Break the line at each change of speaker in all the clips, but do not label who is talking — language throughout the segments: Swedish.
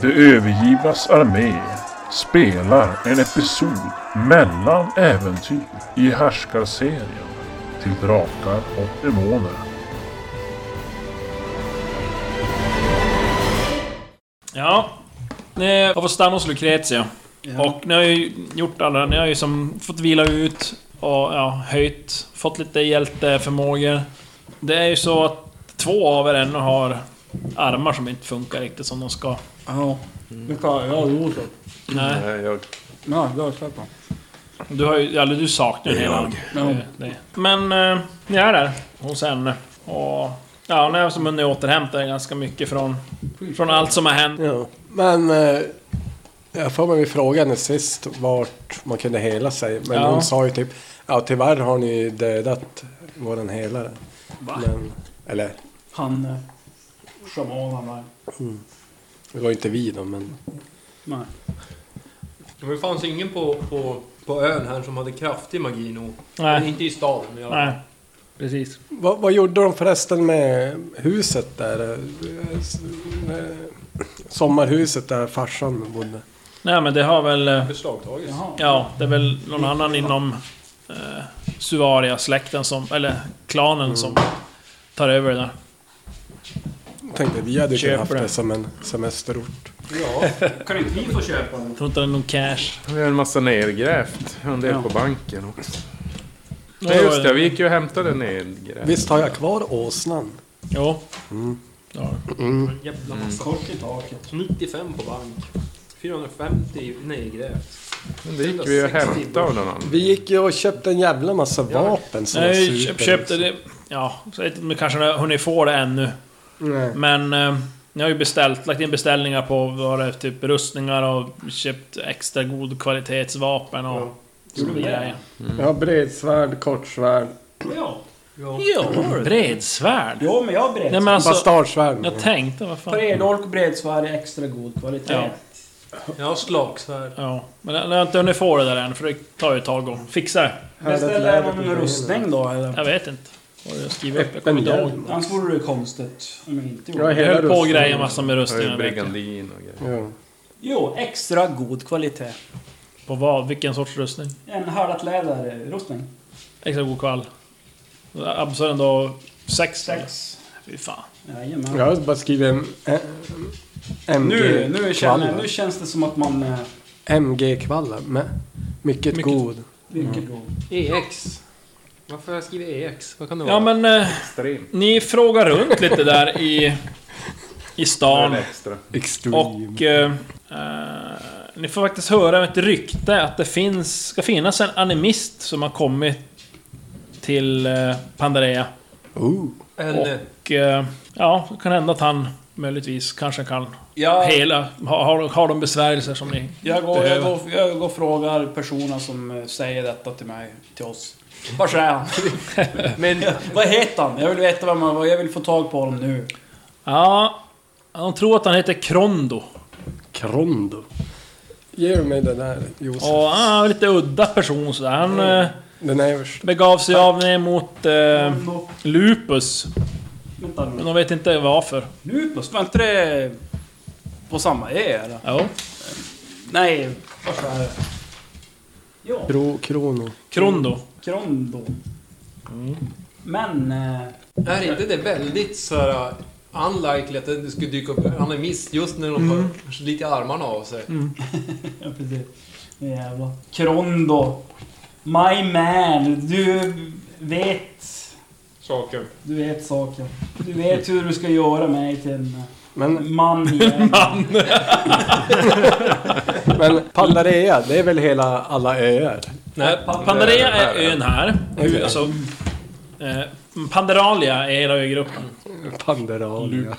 De övergivnas armé spelar en episod mellan äventyr i härskarserien till drakar och demoner.
Ja. Ni har fått stanna hos Lucretia. Och ni har ju gjort alla... Ni har ju som fått vila ut och ja, höjt. Fått lite hjälteförmågor. Det är ju så att två av er ännu har armar som inte funkar riktigt som de ska.
Ja. Vilka? Jag är Josef.
Nej.
Nej, jag...
Nej, det har jag släppt på.
Du har ju... Eller du saknar ju en hel arm.
Ja.
Det- det. Men eh, ni är där hos henne. Och... Ja, ni har som hunnit återhämta er ganska mycket från... Från allt som har hänt.
Ja. Men eh, jag får mig fråga henne sist vart man kunde hela sig. Men
Ja.
hon sa ju typ, ja tyvärr har ni dödat våran helare. Men, eller,
Han... eh, Shamanen där.
det var ju inte vi då men.
Nej.
Men det fanns ingen på, på, på ön här som hade kraftig magi nog. Men
Nej.
Inte i staden. men Jag...
Nej. Precis.
Vad, vad gjorde de förresten med huset där? eh, s- eh, Sommarhuset där farsan bodde.
Nej men det har väl... eh,
Beslagtagits.
Jaha.
Ja, det är väl någon annan inom eh, Suvaria-släkten som... Eller klanen som tar över det där.
Jag tänkte vi hade ju
Köper
kunnat haft
det.
det som en semesterort.
Kan inte vi få köpa den?
Jag tror inte det är någon cash.
Vi har en massa nergrävt. Jag har En del på banken också. Nej
det
just
var-
det, vi gick ju och hämtade nergrävt.
Visst har jag kvar åsnan?
Jo. Ja.
En jävla
Mm.
massa.
Kors i taket.
95 på bank. 450 nedgrävt.
Men det gick vi och hämtade av någon annan.
Vi gick ju och köpte en jävla massa vapen som var
Nej,
super-
köp, köpte det... Ja, så vet inte om ni kanske har hunnit få det ännu.
Nej.
Men... Eh, ni har ju beställt, lagt in beställningar på vad det är, typ rustningar och köpt extra god kvalitetsvapen och... Såna grejer.
Mm. Jag har bredsvärd, kortsvärd,
Ja.
Jo, bredsvärd.
Jo, men jag är beredd.
Nej men alltså...
bastardsvärd.
Jag tänkte, vad fan...
Predolk och bredsvärd är extra god kvalitet.
Ja.
Jag har slagsvärd.
Ja, men jag jag har inte hunnit få det där än för det tar ju ett tag att fixa det.
Beställer man en rustning då eller?
Jag vet inte vad det jag skriver upp. Jag kommer
Öppen
inte ihåg.
hjälm.
Annars vore det ju konstigt om jag inte
Jag är
gjorde det.
Jag höll
hela
på och
rustningen.
grejade massa med
Det var ju
rustningarna. vet jag.
brigandin och grejer.
Ja.
Jo, extra god kvalitet.
På vad? Vilken sorts rustning?
En härdat läderrustning.
Extra god kvall. Abs har ändå sex. Sex. Fy fan.
Jajamän.
Jag har bara skrivit en... en- en-
Nu, nu, känner,
MG-kvalla.
nu känns det som att man... eh,
MG-kvalla. Med mycket,
Mycket-
god. Mm.
Vilket god.
EX. Varför har jag skrivit EX? Vad kan det vara?
Ja men, eh,
Extrem.
ni frågar runt lite där i, i stan.
Eller extra.
Extreme.
Och... Eh, eh, ni får faktiskt höra ett rykte att det finns, ska finnas en animist som har kommit till eh, Pandarea.
Ooh.
En,
Och-
eh,
Och eh, ja, det kan hända att han möjligtvis kanske kan
Jag,
hela. Har, har, har de besvärjelser som ni...
jag, går, jag,
Behöver.
går, jag går och frågar personen som eh, säger detta till mig, till oss. Vart är han?
men
Vad heter han? Jag vill veta vem han var. Jag vill få tag på honom nu.
Ja, de tror att han heter Krondo.
Krondo. Ger mig den där Josef.
Och han är lite udda person sådär. Han eh,
Den översta.
begav sig av ner mot eh, Lupus.
Vänta
Men
nu.
de vet inte varför.
Lupus, var inte det på samma ö eller?
Jo.
Nej, vart är det? Ja,
Kro, krono.
Krondo.
Krondo. Men... eh,
är inte det väldigt så här eh, unlikely att det skulle dyka upp en animist just när de
Mm.
tar lite armarna av sig?
Ja, precis. Nu jävlar. Krondo. My man. Du vet...
Saken.
Du vet saken. Du vet hur du ska göra mig till en
Men,
man igen.
men Pandarea, det är väl hela alla öar?
Nej, Pa- Pandarea är ön här.
Okej.
Alltså, eh, Panderalia är hela ögruppen.
Panderalia.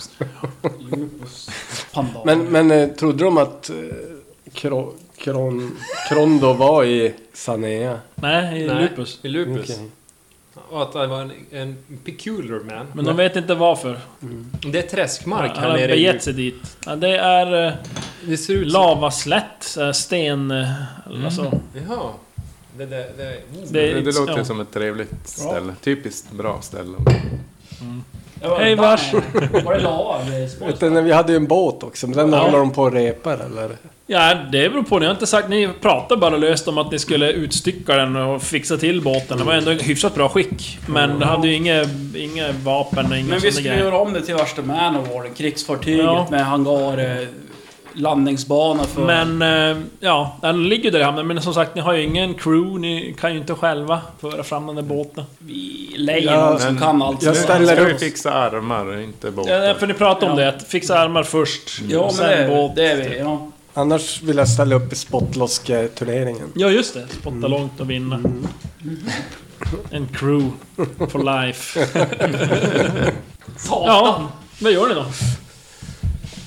Lupus. Panda.
Men, men eh, trodde de att eh, Kro, Kron, Krondo var i Sanea?
Nej, i
Nej.
Lupus.
I Lupus.
Okej.
Och att det var en, en peculiar man.
Men de vet inte varför.
Det är träskmark
Han
här
har
nere i
begett sig dit. Ja, det är eh,
Det ser ut som...
lavaslätt, så här sten... eh,
Mm.
Alltså,
Jaha. Det, det, det, oh.
det,
Det,
är
det
inte-
låter
ja.
som ett trevligt ställe. Typiskt bra ställe.
Jag bara,
Hej,
"Damn."
vars."
Var det lava eller spoj?
Utan vi hade ju en båt också, men den
Ja.
håller de på och repar eller?
Ja, det beror på. Ni har inte sagt... Ni pratade bara löst om att ni skulle utstycka den och fixa till båten. Den var ändå i hyfsat bra skick. Men det hade ju inga, inga vapen och inga
Men vi
sådana
skulle
grejer.
göra om det till värsta Manowar, krigsfartyget
Ja.
med hangar, eh, landningsbana för...
Men eh, ja, den ligger ju där i hamnen. Men som sagt, ni har ju ingen crew. Ni kan ju inte själva föra fram den där båten.
vi lejer
Ja,
någon som kan allt.
jag
sånt.
ställer
Ska
upp.
vi fixa armar, inte båtar?
Ja, för ni pratade om
Ja.
det. Att fixa armar först.
Ja,
och
men
sen
det,
båt.
det är vi. Ja.
Annars vill jag ställa upp i spottlosketurneringen.
Ja, just det. Spotta långt och vinna. En crew for life.
Satan!
Ja, vad gör ni då?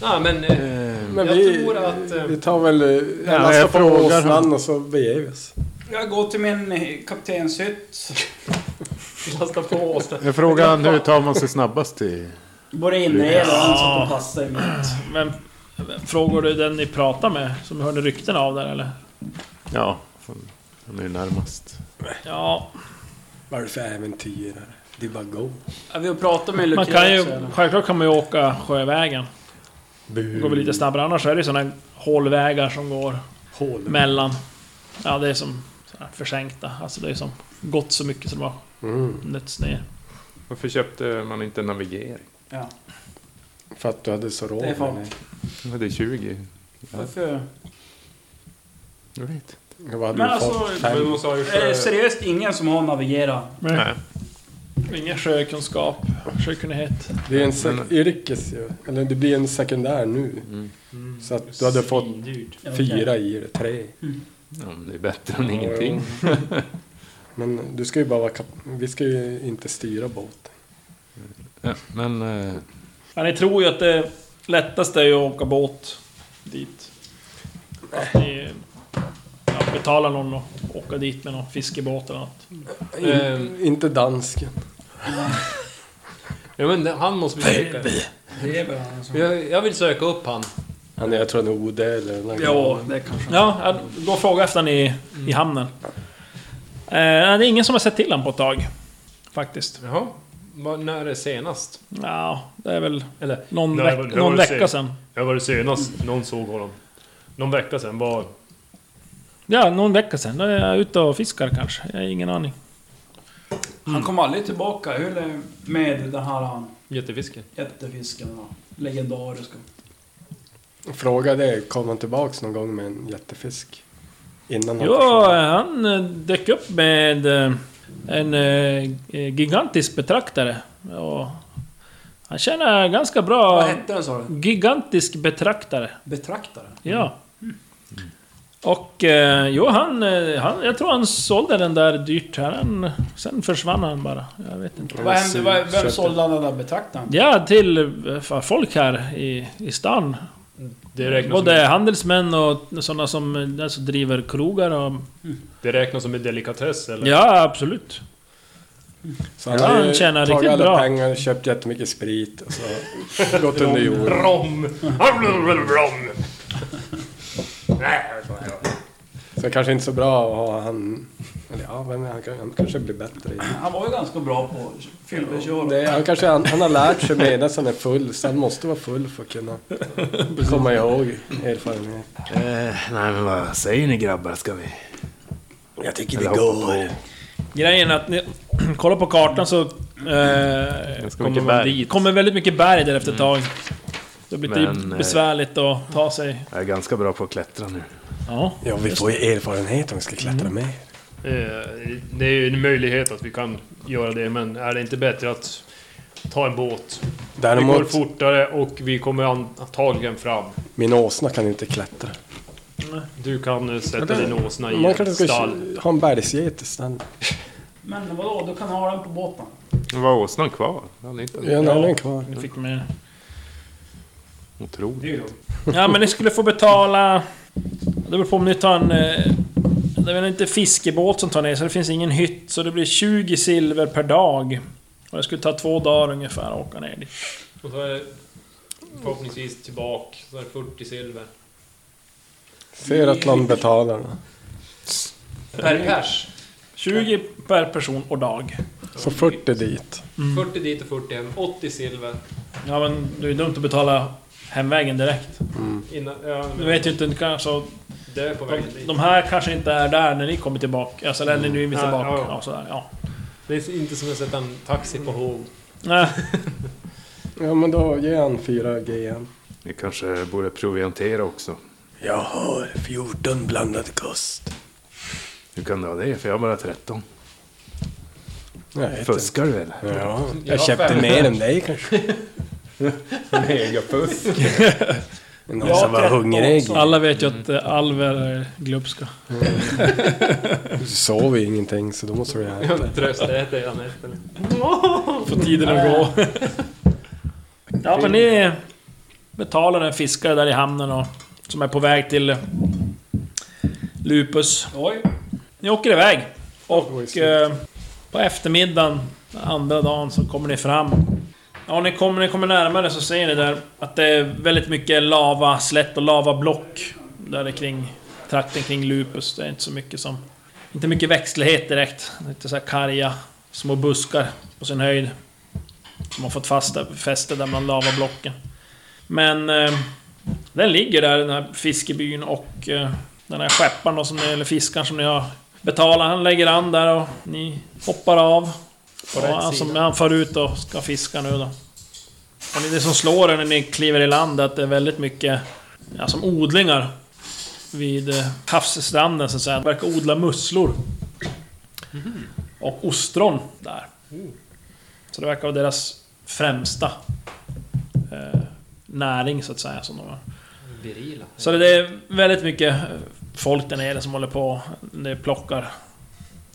Ja, men... Eh,
Ehm,
Men
Jag
vi,
tror att, eh,
vi tar väl... eh,
jag
Alla ska på
frågar
åsnan
honom.
och så beger vi oss.
Jag går till min eh, kaptenshytt.
lasta på oss där.
Jag frågar han hur tar man sig snabbast till...
Både inreder och allt så
Ja.
att de passar emot.
Men frågar du den ni pratar med som hörde rykten av där eller?
Ja, fan, han är ju närmast.
Ja,
Vad är det för äventyr här? Det är bara go.
Ja, Vi har pratat med
man
Lucrezia.
kan ju... Självklart kan man ju åka sjövägen. Det går väl lite snabbare. Annars är det ju såna här hålvägar som går
Hål.
mellan... Ja, det är som så här försänkta. Alltså det är som gått så mycket som har
Mm.
nötts ner.
Varför köpte man inte navigering?
Ja.
För att du hade så råd
Det är fan-
med
Det är 20.
Varför?
Jag vet.
det. Vad hade
Men
du fått?
alltså,
Eh,
Fem.
måste ha ju
är det seriöst ingen som har navigerat?
Nej.
Ingen sjökunskap, sjökunnighet.
Det är en sek- yrkes ju. Eller det blir en sekundär nu. Så att du hade fått fyra i det, tre.
Ja, men det är bättre än ingenting.
Men du ska ju bara vara kap- Vi ska ju inte styra båten.
Ja, men... Eh,
Ja, ni tror ju att det lättaste är ju att åka båt dit. Att ni ja, betalar någon och åka dit med någon fiskebåt eller något.
Mm.
In,
Ehm.
inte dansken.
Ja, men han måste vi söka. Jag, jag vill söka upp han.
Han är, jag tror han är OD eller något.
Ja, det kanske.
Ja, ja, gå och fråga efter han i,
Mm.
i hamnen. Eh, nej, det är ingen som har sett till han på ett tag. Faktiskt.
Jaha. Var, när är senast?
Ja, det är väl
Eller,
någon,
Nej, det
veck-
var- det var
någon
det
vecka
sent.
sedan.
jag var det senast någon såg honom. Någon vecka sedan var...
Ja, någon vecka sedan. Då är jag ute och fiskar kanske. Jag har ingen aning.
Han kom aldrig tillbaka. Hur är det med den här han,
Jättefisken.
jättefisken? va? Legendariska.
Fråga det, kom han tillbaks någon gång med en jättefisk? Innan han
Jo,
försvann?
han eh, dök upp med eh, en eh, gigantisk betraktare. Och han tjänar ganska
Vad
bra.
hette den sa du?
Gigantisk betraktare.
Betraktare?
Ja. Och eh, jo, han, eh, han... Jag tror han sålde den där dyrt. Här. Han, sen försvann han bara. Jag vet inte.
Vad hände? Vad- Vem sålde han den där betraktaren?
Ja, till eh, fan, folk här i, i stan.
Det räknas,
Både
som,
handelsmän och sådana som eh, alltså, driver krogar och...
det räknas som en delikatess eller?
Ja, absolut.
Så han
Ja,
har ju
han tjänar
tagit
riktigt
alla
bra.
pengar, köpt jättemycket sprit och så gått under jorden.
Rom! Rom!
Så kanske inte så bra att ha han... Eller ja, vem är han? han kanske blir bättre. i-
Han var ju ganska bra på att fyllbeköra.
Det, han kanske han, han har lärt sig medan han är full, så han måste vara full för att kunna komma ihåg erfarenhet.
Eh, nej, men vad säger ni grabbar? Ska vi...
Jag tycker det går.
Grejen är att ni, kolla på kartan så... Eh, kommer,
mycket
man
berg. Mm.
dit. kommer väldigt mycket berg där efter ett tag. Det blir
Men,
lite
eh,
besvärligt att ta sig...
Jag är ganska bra på att klättra nu.
Ja.
Ja, vi får ju erfarenhet om vi ska klättra med.
Eh, Det är ju en möjlighet att vi kan göra det, men är det inte bättre att ta en båt? Det går
Däremot,
fortare och vi kommer antagligen fram.
min åsna kan inte klättra.
Du kan eh, sätta din åsna i
Man kanske
ett
ska
stall.
ha en bergsget istället.
Men vadå, du kan ha den på båten?
Nu var åsnan kvar. Han är inte
Ja, nej, den är kvar.
Ni fick med.
otrolig.
Ja men ni skulle få betala... Det beror på om ni tar en... eh, Det är väl inte fiskebåt som tar ner så det finns ingen hytt. Så det blir 20 silver per dag. Och det skulle ta två dagar ungefär att åka ner dit.
Och så är det förhoppningsvis tillbaka. Så är det 40 silver.
Ser att man betalar.
Per pers.
20 per person och dag.
Så 40 dit.
40 dit och 40 hem. 80 silver.
Ja men det är ju dumt att betala hemvägen direkt.
Innan, ja,
Du vet ju inte kanske... alltså,
det är på vägen
De,
dit.
de här kanske inte är där när ni kommer tillbaka. Alltså, eller när ni är
Ja,
tillbaka.
ja,
Ja,
ja.
sådär, ja.
Det är inte som att sätta en taxi på Hov.
Nej,
Ja men då ger han 4 GM.
Ni kanske borde proviantera också.
Jag har 14 blandad kost.
Hur kan du ha det? För jag har bara 13.
Nej,
Fuskar du eller?
Ja,
Jag
jag
har
köpte
fem.
mer än dig kanske.
Megapuss.
Någon som var hungrig.
alla vet ju att eh, alver är glupska.
Du sover ju ingenting så då måste du äta.
Tröstäter jag nästan.
Får tiden att gå. ja men ni betalar en fiskare där i hamnen och, som är på väg till Lupus.
Oj.
Ni åker iväg. Och eh, på eftermiddagen, andra dagen, så kommer ni fram. Ja, ni kommer, ni kommer närmare så ser ni där att det är väldigt mycket lava, slätt och lavablock. Där det kring trakten kring Lupus. Det är inte så mycket som... Inte mycket växtlighet direkt. Det är Lite så här karga små buskar på sin höjd. Som har fått fast fäste där bland lavablocken. Men... Eh, den ligger där, den här fiskebyn och eh, den här skepparen då, som ni, eller fiskaren som ni har betalat, han lägger an där och ni hoppar av. Och
rätt
han, som,
sida.
han far ut och ska fiska nu då. Och det är det som slår er när ni kliver i land är att det är väldigt mycket ja, som odlingar vid eh, havsstranden så att säga. De verkar odla musslor.
Mhm.
Och ostron där. Så det verkar vara deras främsta eh, näring så att säga. Som de har.
Virila.
Så det är väldigt mycket folk där nere som håller på. Det plockar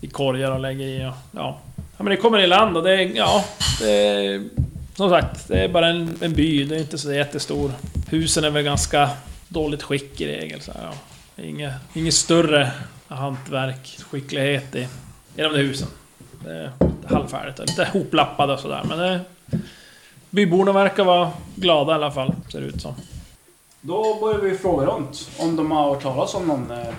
i korgar och lägger i och, ja. ja men det kommer i land och det är, ja... Det är, som sagt, det är bara en, en by. Det är inte så jättestor. Husen är väl ganska dåligt skick i regel. Så här, ja. Det är Inget, inget större hantverk, skicklighet i, i de där husen. Det är halvfärdigt. och Lite hoplappade och sådär. Men det, byborna verkar vara glada i alla fall, ser det ut som.
Då börjar vi fråga runt om de har hört talas om någon eh,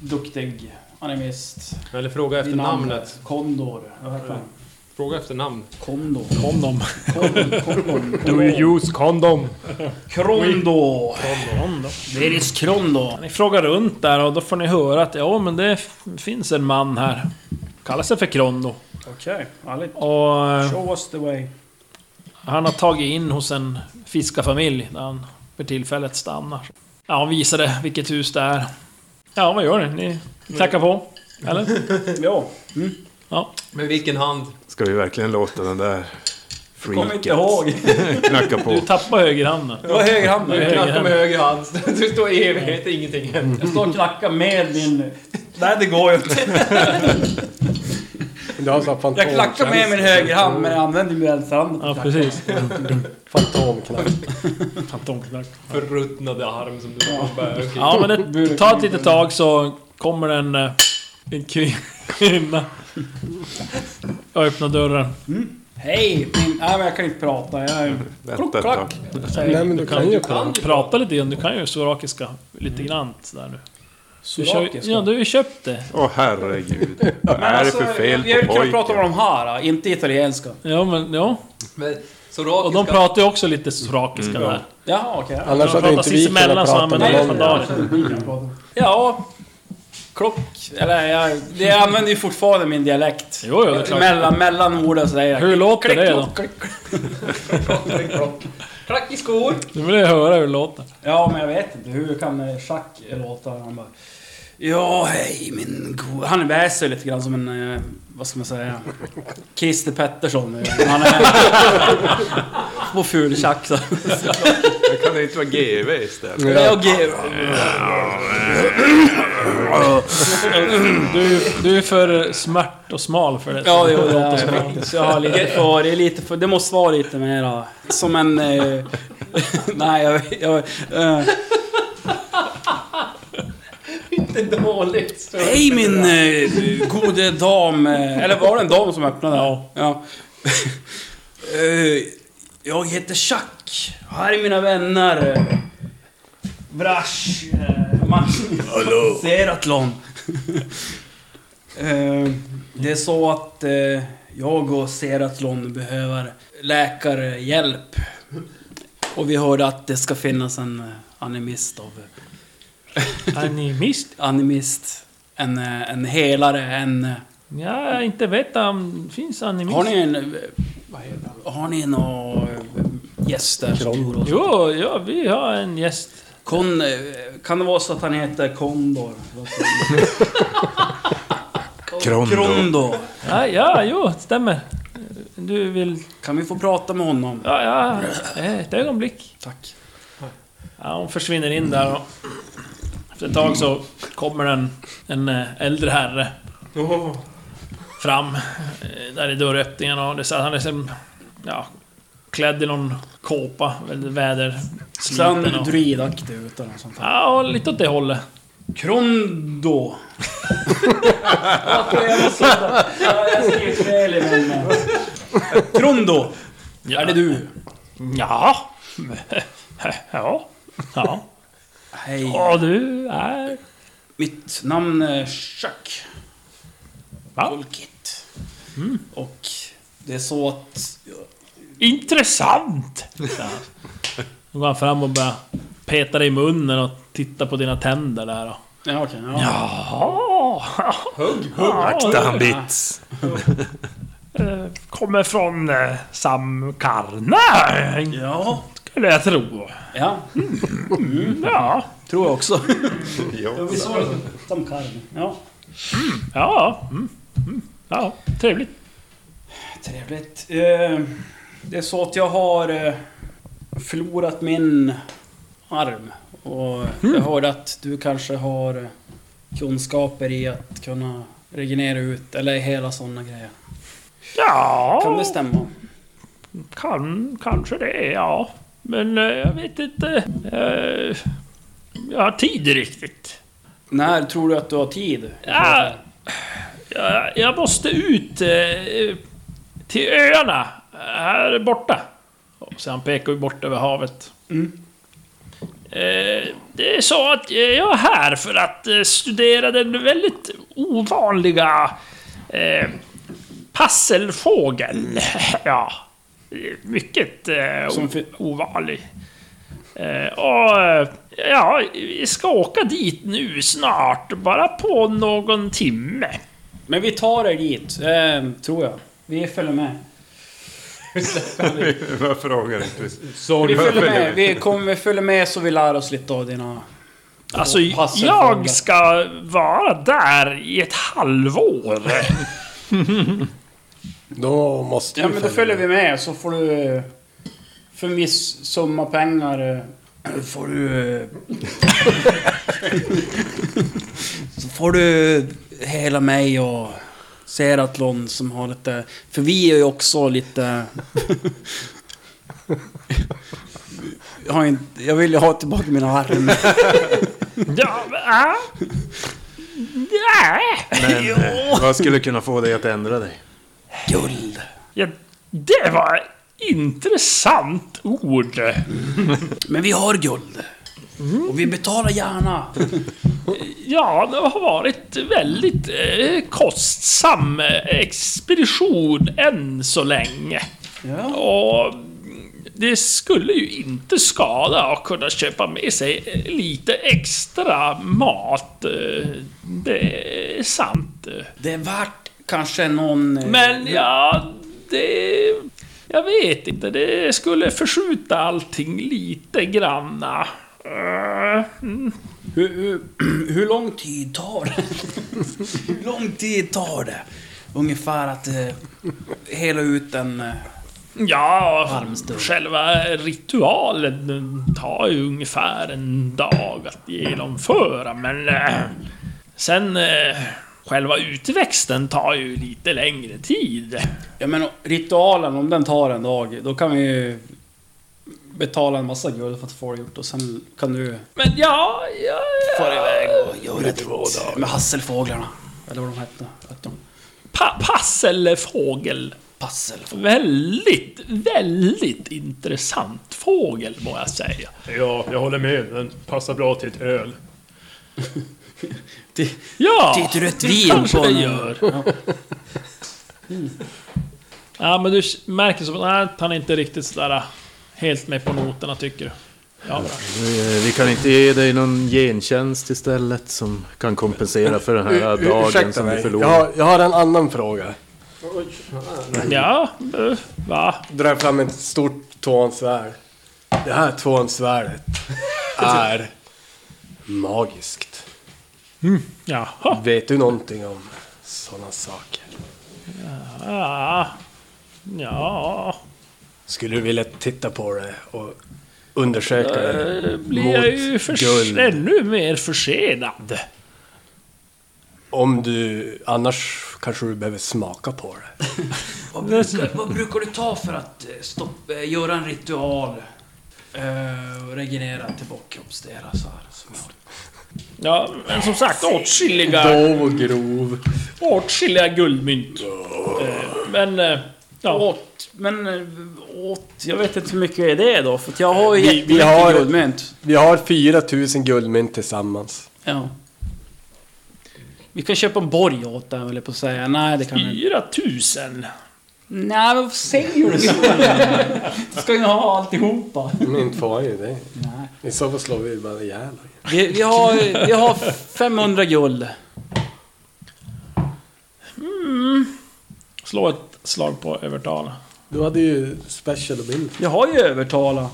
duktig animist.
Eller fråga efter
Vid namn
namnet.
Kondor. Jag har hört om
Fråga efter namn.
Kondor.
Kom dem.
Kondor. Kondor.
use condom?
Krondo.
Kom dem.
Det är ditt Krondo.
Ni frågar runt där och då får ni höra att ja, men det f- finns en man här. Kallar sig för Krondo.
Okej, härligt.
Och eh,
Show us the way.
han har tagit in hos en fiskarfamilj där han för tillfället stannar. Ja, han visade vilket hus det är. Ja, vad gör ni? Ni knackar på? Eller?
Ja,
Ja.
Med vilken hand?
Ska vi verkligen låta den där
kom inte
freaket
ihåg.
knacka på?
Du tappar högerhanden.
Det var högerhanden.
Det var
Du knackar
högerhanden.
med höger hand. Du står i evighet ingenting händer.
Jag står och knackar med min... Nej, det går ju inte.
Du har sån här
Jag klackar med min högerhand, men jag använder min vänsterhand.
Ja, precis.
fantomknapp.
Fantomknack.
Förruttnade arm som du har. Bara, okej.
Ja, men det tar ett litet tag så kommer en, eh, en kvinna och öppnar dörren.
Hej! Min... Nej, men jag kan inte prata. Jag är...
Vänta ett tag.
Nej men du kan ju
kan
prata.
ju
Prata lite grann, du kan ju sorakiska lite grann där nu. Du kör,
Sorakiska?
ja, du har ju köpt det.
Åh herregud. Vad
Men
är det
alltså,
för fel
jag, jag
på
kan prata om
pojken?
de här, äh, inte italienska.
Ja, men ja.
Men
Och de
sorakiska...
pratar ju också lite sorakiska
Mm,
där.
Jaha, okej.
Annars
De
hade
pratar
inte vi
sinsemellan
kunnat
så
prata
använder
med
de
någon.
sandal.
Ja... Klock... Eller jag, det- jag använder ju fortfarande min dialekt.
Jo, jo, det är klart.
mellan, mellan orden så säger jag...
Hur låter
klick,
det då?
klock, klick, klick.
Klack i skor!
Nu vill jag höra hur det låter.
Ja, men jag vet inte. Hur kan eh, Schack låta? Han bara... Ja, hej min go... Han väser lite grann som en... eh, Vad ska man säga? Christer Pettersson. eh, Han är... På ful Schack så.
Det kan ju inte vara GV istället.
Ja, okej.
Du, du är för smärt och smal för det.
Ja, jo, det är jag faktiskt. Jag har lite för, det är lite för... Det måste vara lite mera... Som en... Eh, nej, jag... jag eh,
Inte dåligt! Så.
Hej min eh, gode dam. eh, Eller var det en dam som öppnade?
Ja.
ja. Eh, jag heter Chuck. Här är mina vänner. Brash. eh, Magnus. Seratlon. Eh, det är så att eh, Jag och Seratlon behöver läkarhjälp. Och vi hörde att det ska finnas en eh, animist av...
Animist?
Animist. En, eh, en helare, en... eh,
Ja, inte vet jag om det finns animist.
Har ni en... eh, Vad heter han? Har ni några eh, gäster?
Jo, ja, vi har en gäst.
Kon... eh, Kan det vara så att han heter Kondor?
Krondo.
Krondo.
Ja, ja jo, stämmer. Du vill...
Kan vi få prata med honom?
Ja, ja. Ett ögonblick.
Tack.
Ja, hon försvinner in där och... Efter ett tag så kommer en, en eh, äldre herre fram eh, där i dörröppningen och det, är så att han är som... Ja, klädd i någon kåpa, väldigt
Ser han
vädersliten och...
druidaktig ut eller något sånt? här?
Ja, lite åt det hållet.
Krondo. Jag skrev fel i min... Krondo!
Ja.
Är det du?
Ja. Ja. Ja.
Hej.
Och du är...
Mitt namn är Chuck.
Va?
Tolkit. Och det är så att...
Intressant! Nu går han fram och börjar peta dig i munnen och titta på dina tänder där och...
Ja, okej. ja.
Jaha! Hugg, hugg!
Akta han bits.
Eh, Kommer från eh, Samkarna,
ja.
skulle jag tro.
Ja,
Ja,
tror jag också. ja, vi såg som karm. Ja.
ja. Mm. mm, Ja, trevligt.
Trevligt. Eh, Det är så att jag har eh, förlorat min arm. Och jag hörde att du kanske har eh, kunskaper i att kunna regenera ut, eller hela sådana grejer.
Ja,
Kan det stämma?
kan, kanske det, ja. Men eh, jag vet inte. Eh, jag har tid riktigt.
När tror du att du har tid?
Ja, jag, jag måste ut eh, till öarna här borta. Och Sen pekar vi bort över havet. Eh, det är så att jag är här för att eh, studera den väldigt ovanliga eh, passelfågeln. ja, mycket eh,
Som fi-
ovanlig. Eh, och eh, ja, vi ska åka dit nu snart, bara på någon timme.
Men vi tar er dit, eh, tror jag. Vi följer med.
Varför frågar inte?
Vi följer med. Vi, kommer, vi följer med så vi lär oss lite av dina...
Alltså,
Passelfågel.
jag ska vara där i ett halvår.
Då måste
Ja,
vi
men då följer vi med så får du... eh, För en viss summa pengar eh, får du... eh, så får du hela mig och Seratlon som har lite... För vi är ju också lite... Jag, har inte, jag vill ju ha tillbaka mina armar.
ja, äh. Nej.
Men eh, vad skulle kunna få dig att ändra dig?
Guld.
Ja, det var ett intressant ord.
Men vi har guld. Och vi betalar gärna.
Ja, det har varit väldigt eh, kostsam eh, expedition än så länge.
Ja.
Och det skulle ju inte skada att kunna köpa med sig eh, lite extra mat. eh, Det är sant.
Det är värt kanske någon... eh,
Men ja, det... Jag vet inte, det skulle förskjuta allting lite granna. Eh, mm.
Hur, hur, hur lång tid tar det? hur lång tid tar det? Ungefär att eh, hela ut en... Eh,
Ja,
Armstund.
själva ritualen den tar ju ungefär en dag att genomföra, men... eh, Sen... eh, Själva utväxten tar ju lite längre tid.
jag menar, ritualen, om den tar en dag, då kan vi ju betala en massa guld för att få det gjort och sen kan du
Men ja, ja,
fara
ja.
iväg och göra ditt med hasselfåglarna. Eller vad de hette. Vet du?
Pa passelfågel.
Passelfåglar.
Väldigt, väldigt intressant fågel må jag säga.
Ja, jag håller med. Den passar bra till ett öl.
Ja,
Det är ju ett
det
vin
kanske
på
det
en-
gör. Ja, men du märker som att han är inte riktigt sådär äh, helt med på noterna tycker du. Ja, bra.
Vi, vi kan inte ge dig någon gentjänst istället som kan kompensera för den här
U-
dagen
ursäkta
som du
mig. Jag
förlorade.
har, jag har en annan fråga.
ja eh, va?
Drar fram ett stort tvåhandsvärd. Det här tvåhandsvärdet är magiskt.
Jaha.
Vet du någonting om sådana saker?
Ja. Ja.
Skulle du vilja titta på det och undersöka det?
Då blir jag ju
Mot
förs-
guld.
ännu mer försenad.
Om du... Annars kanske du behöver smaka på det.
Vad brukar, vad brukar du ta för att eh, stoppa, eh, göra en ritual? eh, Och regenerera tillbaka kroppsdelar så här. Som jag.
Ja, men som sagt åtskilliga,
Dov grov.
åtskilliga guldmynt. Eh, Men... eh, Ja.
Åt, men eh, åt, jag vet inte hur mycket är det då? För att jag har ju
Vi- vi
jättemycket
har-
guldmynt.
Vi har 4000 guldmynt tillsammans.
Ja. Vi kan köpa en borg åt den höll jag på att säga. Nej, det kan vi inte.
4000.
Nej, men vad säger du så? Du ska ju ha alltihopa.
Mynt får ju det.
Nej.
I så fall slår vi bara ihjäl honom.
Vi, vi, har, vi har 500 guld.
Slå ett slag på övertala.
Du hade ju special ability.
Jag har ju övertala.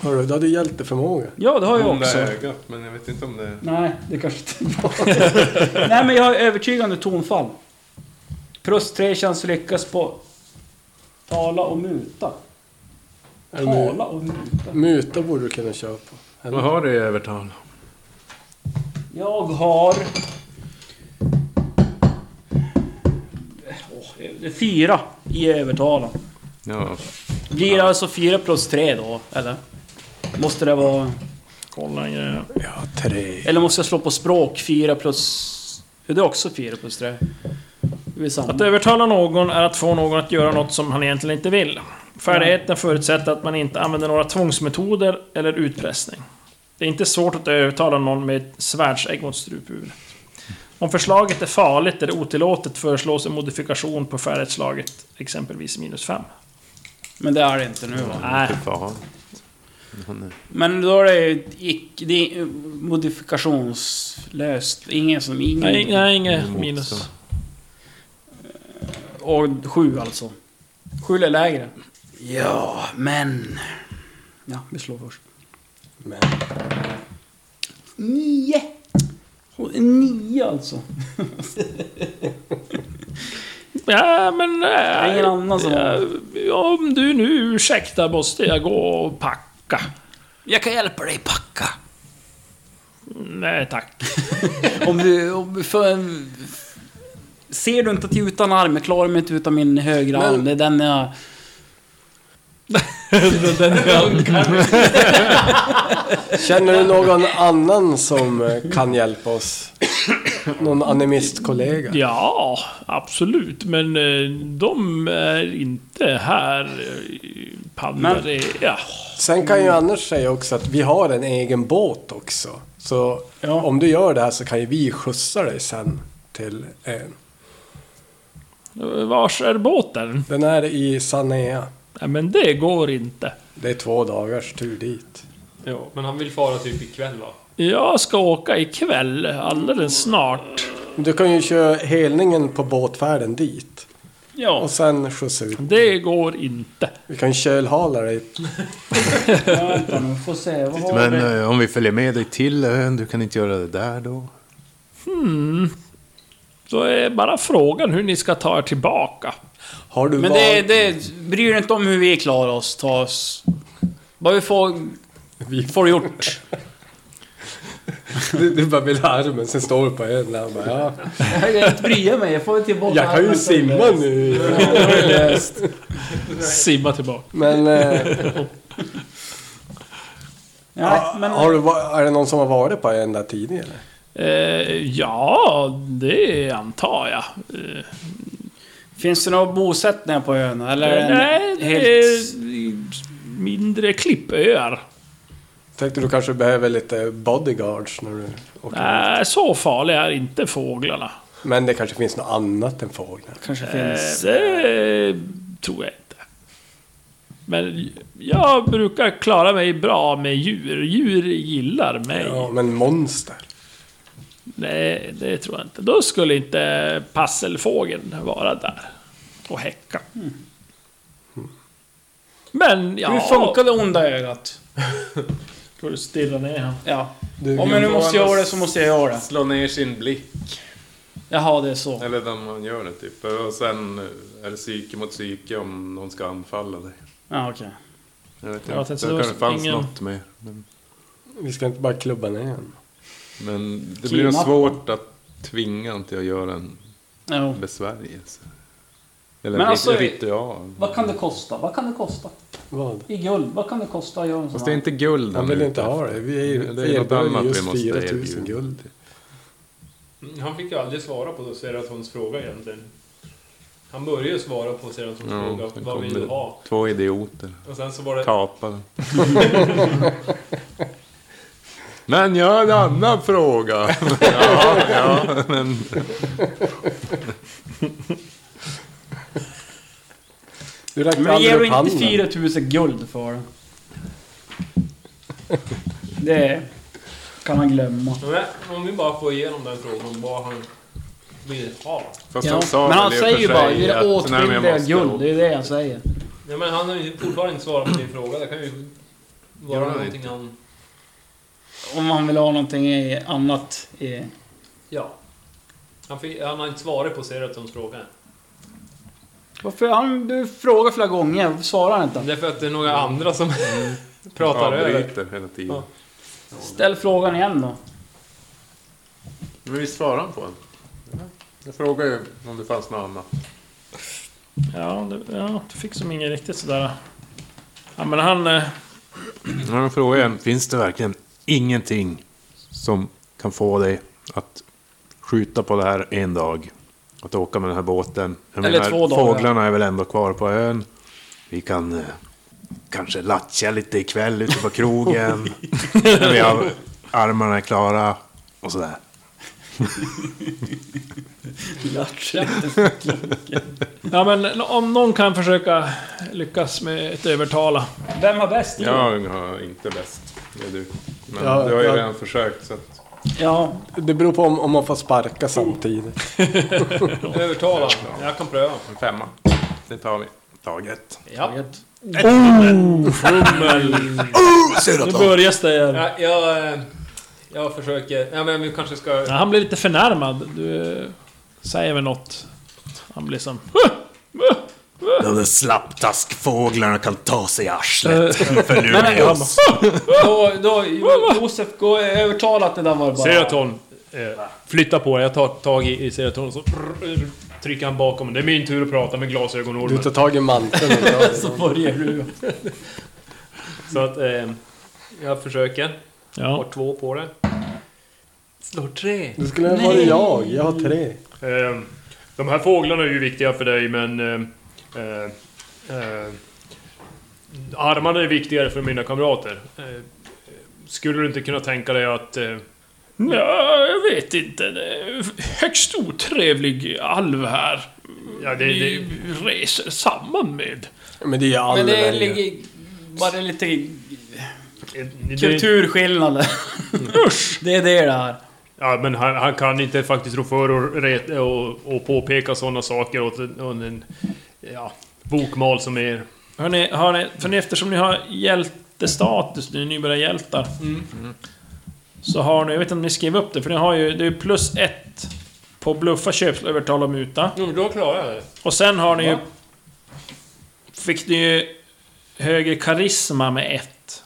Hörru, du hade ju hjälteförmåga.
Ja, det har jag
Det
också.
där ögat, men jag vet inte om det...
Nej, det kanske inte var det. Nej, men jag har övertygande tonfall. Plus tre chans att lyckas på tala och muta.
Eller mu-
Tala och muta.
muta borde du kunna köra på. Eller?
Vad har du i övertal?
Jag har... Åh, Fyra i övertala.
Ja,
Blir det alltså fyra plus tre då, eller? Måste det vara...
Kolla en grej.
Ja, tre.
Eller måste jag slå på språk? Fyra plus... Ja, Det är också fyra plus tre. Det är samma.
Att övertala någon är att få någon att göra något som han egentligen inte vill. Färdigheten förutsätter att man inte använder några tvångsmetoder eller utpressning. Det är inte svårt att övertala någon med ett svärdsägg mot struphuvudet. Om förslaget är farligt eller otillåtet föreslås en modifikation på färdighetslaget, exempelvis minus 5.
Men det är det inte nu va?
Nej,
fan.
Men då är det ju ick- det är modifikationslöst. Ingen som... Ingen...
nej, nej inget minus.
Och sju alltså. Sju eller lägre. Ja, men... Ja, vi slår först.
Men.
Nio! Och Nio alltså.
Ja, men...
Det är
Nej,
ingen annan som har...
Ja, Om du nu ursäktar måste jag gå och packa.
Jag kan hjälpa dig packa.
Nej tack.
Om du... Om du för, ser du inte att jag är utan arm? Jag klarar mig inte utan min högra arm. Det är den jag...
Känner du någon annan som eh, kan hjälpa oss? Någon animistkollega?
Ja, absolut. Men eh, de är inte här. eh, Pandor
Men-
är... Ja.
Sen kan ju
Mm.
Anders säga också att vi har en egen båt också. Så om du gör det här så kan ju vi skjutsa dig sen till eh, ön.
Vars är båten?
Den är i Sanea.
Nej, men det går inte.
Det är två dagars tur dit.
Ja, men han vill fara typ ikväll va?
Jag ska åka ikväll, alldeles snart.
Du kan ju köra helningen på båtfärden dit.
Ja.
Och sen skjutsa ut.
Det går inte.
Vi kan ju kölhala dig.
Vänta nu, får se. Vad har
Men
vi?
eh, om vi följer med dig till ön, du kan inte göra det där då?
Så är bara frågan hur ni ska ta er tillbaka.
Har du
Men
val-
det, det bryr dig inte om hur vi klarar oss, ta oss... Bara vi får... Vi får gjort.
Du, du bara vill ha armen, sen står du på ön där och bara ja.
Jag bryr mig, jag får tillbaka...
Jag kan ju simma nu.
Simma tillbaka.
Men, eh,
Ja, men...
har du, va- är det någon som har varit på ön där tidigare?
Eh, ja, det antar jag. Eh,
Finns det några bosättningar på ön? Eller är det en
Eh, nej, det
helt...
är mindre klippöar.
Tänkte du kanske behöver lite bodyguards när du åker ut.
Nej, Eh, så farliga är inte fåglarna.
Men det kanske finns något annat än fåglar.
Kanske
Eh,
finns...
Det tror jag inte. Men jag brukar klara mig bra med djur. Djur gillar mig.
Ja, men monster.
Nej, det tror jag inte. Då skulle inte passelfågeln vara där och häcka. Men ja...
Mm. Hur funkar det onda ögat?
Får du stirra ner han?
Ja. Om jag nu måste göra det så måste jag göra det.
Slå ner sin blick.
Jaha, det är så.
Eller där man gör det typ. Och sen eh, är det psyke mot psyke om någon ska anfalla dig.
Ja, okej.
Jag vet
Ja, jag
inte.
tänkte
det
det var
kanske fanns
ingen-
något mer. Men,
Vi ska inte bara klubba ner den.
men det blir nog
Kidnappa.
svårt att tvinga en till att göra en
Jo.
besvärjelse. Eller
Men
men
alltså-
ritual.
Vad kan det kosta? Vad kan det kosta?
Vad?
I guld, vad kan det kosta att göra en sån
Fast det är
här?
inte guld
Han
han
vill
är
inte
ute
ha det. Vi
efter.
är,
Det är något annat vi
just
måste
4
erbjuda.
000 guld.
Han fick ju aldrig svara på Seratons fråga egentligen. Han började ju svara på Seratons
Ja,
fråga.
sen
Vad
kom
vill du
det.
ha?
Två idioter.
Och sen så var det...
Kapade. men jag har en annan fråga. ja, ja, men...
Du räknar
Men
aldrig
ger du
upp
inte
handen.
4000 guld för den? Det kan man glömma.
Men om vi bara får igenom den frågan, vad han vill ha.
Fast
Ja.
han sa
Men han
väl i och för
säger ju bara,
sig
är
att- Nej,
det
men jag
åtskilliga
måste
guld?
åt-
Det är det jag säger.
Ja, men han har ju fortfarande inte svarat på din fråga. Det kan ju vara
Gör han
någonting han...
Om man vill ha någonting i- annat i...
Ja. Han, fick, han har inte svarat på Seratons fråga.
Varför? Han, du frågar flera gånger, varför svarar han inte?
Därför att det är några andra som pratar över.
Avbryter hela tiden.
Ja.
Ställ frågan igen då.
Men vi svarar han på den? Jag frågar ju om det fanns något annat.
Ja, det, ja, du fick som ingen riktigt sådär... Ja, men han... eh,
Men han frågar igen.
Finns det verkligen ingenting som kan få dig att skjuta på det här en dag? Att åka med den här båten? Jag
Eller två dagar.
Fåglarna är väl ändå kvar på ön? Vi kan eh, kanske latcha lite ikväll ute på krogen. När vi har armarna klara och sådär.
Ja, men n- om någon kan försöka lyckas med ett övertala.
Vem har bäst guld?
Jag har inte bäst. Det är du. Men
Ja,
du har ju
jag-
redan försökt så att...
Ja,
Det beror på om, om man får sparka samtidigt.
Övertala. Jag kan pröva.
En femma. Det tar vi. Taget.
Ja.
Nu börjar det här.
Jag, jag, eh, jag försöker... Ja, men vi kanske ska...
Ja, han blir lite förnärmad. Du eh, säger väl något. Han blir som...
De där slapptaskfåglarna kan ta sig i arslet.
Eh.
Förlura oss.
då, då, Josef, gå övertala att det där var bara...
Seraton, eh, flytta på dig. Jag tar tag i, i Seraton och så trycker han bakom. Det är min tur att prata med
Du
glasögonormen.
tar tag i manteln och drar i
Så
den.
börjar du.
Så att eh, jag försöker. Har
Ja.
två på det. Slår tre.
Det skulle ha varit jag. Jag har tre.
Eh, de här fåglarna är ju viktiga för dig men... Eh, eh, eh, armarna är viktigare för mina kamrater. Eh, skulle du inte kunna tänka dig att... Eh,
ja, jag vet inte. Det är högst otrevlig alv här.
ja, det, det,
reser samman med.
Men det är alla
Men det
väl.
ligger bara lite
det, det,
kulturskillnader. Usch! Det är det det här.
ja, men han, han kan inte faktiskt rå för och, re- och, och påpeka sådana saker åt en, åt en ja, bokmal som er.
Hörni, har ni, för ni, eftersom ni har hjältestatus, ni är nybörjarhjältar.
Mm.
Så har ni, jag vet inte om ni skrev upp det, för ni har ju, det är ju plus ett på bluffa, köpslå, övertala och muta.
Jo, men då klarar jag det.
Och sen har ni ju... Fick ni ju högre karisma med ett.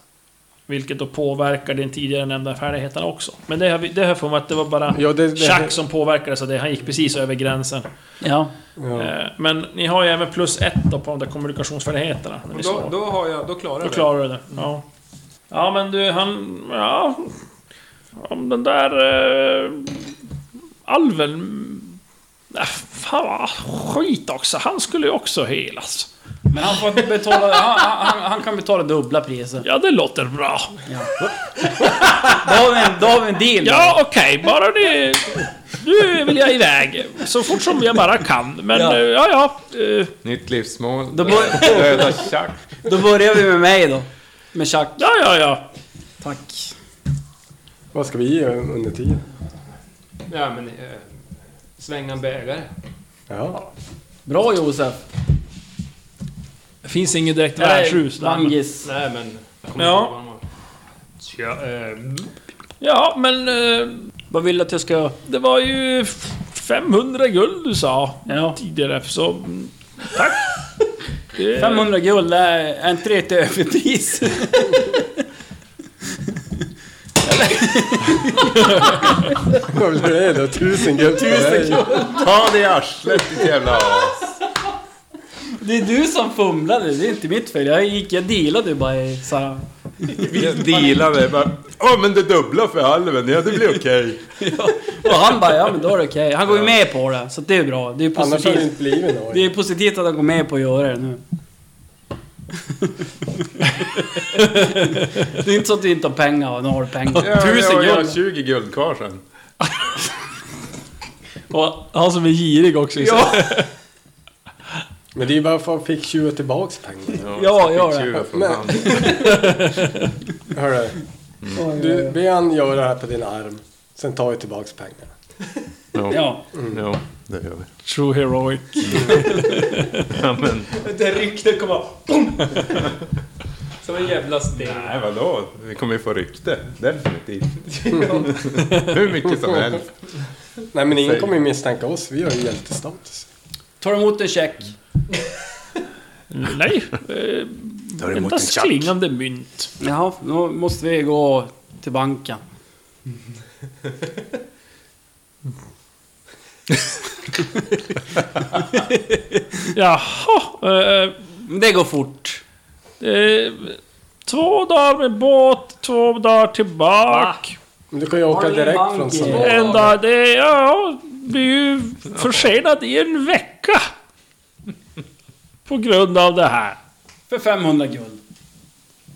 Vilket då påverkar den tidigare nämnda färdigheten också. Men det har, vi, det har jag för mig att det var bara
Ja, det, det,
Chuck som påverkades av det. Han gick precis över gränsen.
Ja.
ja.
Eh, Men ni har ju även plus ett då på de där kommunikationsfärdigheterna. När ni slår.
Då, då, har jag, då klarar
Då
jag
klarar du det. Ja. Ja men du, han... Ja... Om den där... Eh, alven... Äh, fan vad skit också. Han skulle ju också helas.
Men han får betala... Han, han, han kan betala dubbla priser.
Ja, det låter bra.
Då har vi en, då har vi en deal.
Ja, okej. Bara ni Nu vill jag iväg. Så fort som jag bara kan. Men
Ja.
eh, ja, ja. eh,
Nytt livsmål.
Då, bör,
Döda Chuck.
då börjar vi med mig då. Med Chuck.
Ja, ja, ja.
Tack.
Vad ska vi ge under tiden?
Ja, men... Eh, svänga en bägare.
Ja.
Bra Josef.
Det finns inget direkt
Nej,
värdshus där.
Bangis.
Nej, men... jag kommer
Ja.
inte ihåg vad de
Tja,
var.
eh,
Ja, men... eh,
Vad vill du att jag ska...
Det var ju f- 500 guld du sa
Ja.
tidigare, så... mm, Tack! Det-
500 guld, det är är inte det ett överpris?
Vad blir det då? Tusen guld för dig.
Ta det i arslet ditt jävla as.
Det är du som fumlade, det är inte mitt fel. Jag gick, jag dealade bara i så här.
Vi dealade. bara, Ja men det dubbla för halven, ja det blir okej.
Och han bara, ja men då är det okej. Han går ju med på det, så det är bra. Det är
Annars hade det
positivt.
inte blivit något.
Det är positivt att han går med på att göra det nu. det är inte så att du inte har pengar och nu har du pengar.
Tusen Jag har
guld.
20 guld kvar sen.
Och han som är girig också. Ja,
Men det är ju bara för att fick tjuva tillbaks pengarna.
Ja, gör det.
Tjuva från
Men-
hand.
Hörru. Du, be han göra det här på din arm. Sen tar vi tillbaks pengarna.
Ja.
Jo, det gör vi.
True heroic.
Ja, men,
Det ryktet kommer... BOOM! Som en jävla sten.
Nej vadå? Vi kommer ju få rykte. Definitivt. Hur mycket som
Mm.
helst.
Nej men ingen
Säg.
kommer ju misstänka oss. Vi har ju hjältestatus.
Tar emot en check.
Nej, eh,
Tar emot en
endast
tjack.
klingande mynt.
Jaha, då måste vi gå till banken.
Jaha, eh,
Men det går fort.
eh, två dagar med båt, två dagar tillbaka.
Men du kan ju åka
Har ni en
direkt
bank
från
i-
Sverige.
En dag, det ja, blir ju försenad i en vecka. På grund av det här.
För 500 guld.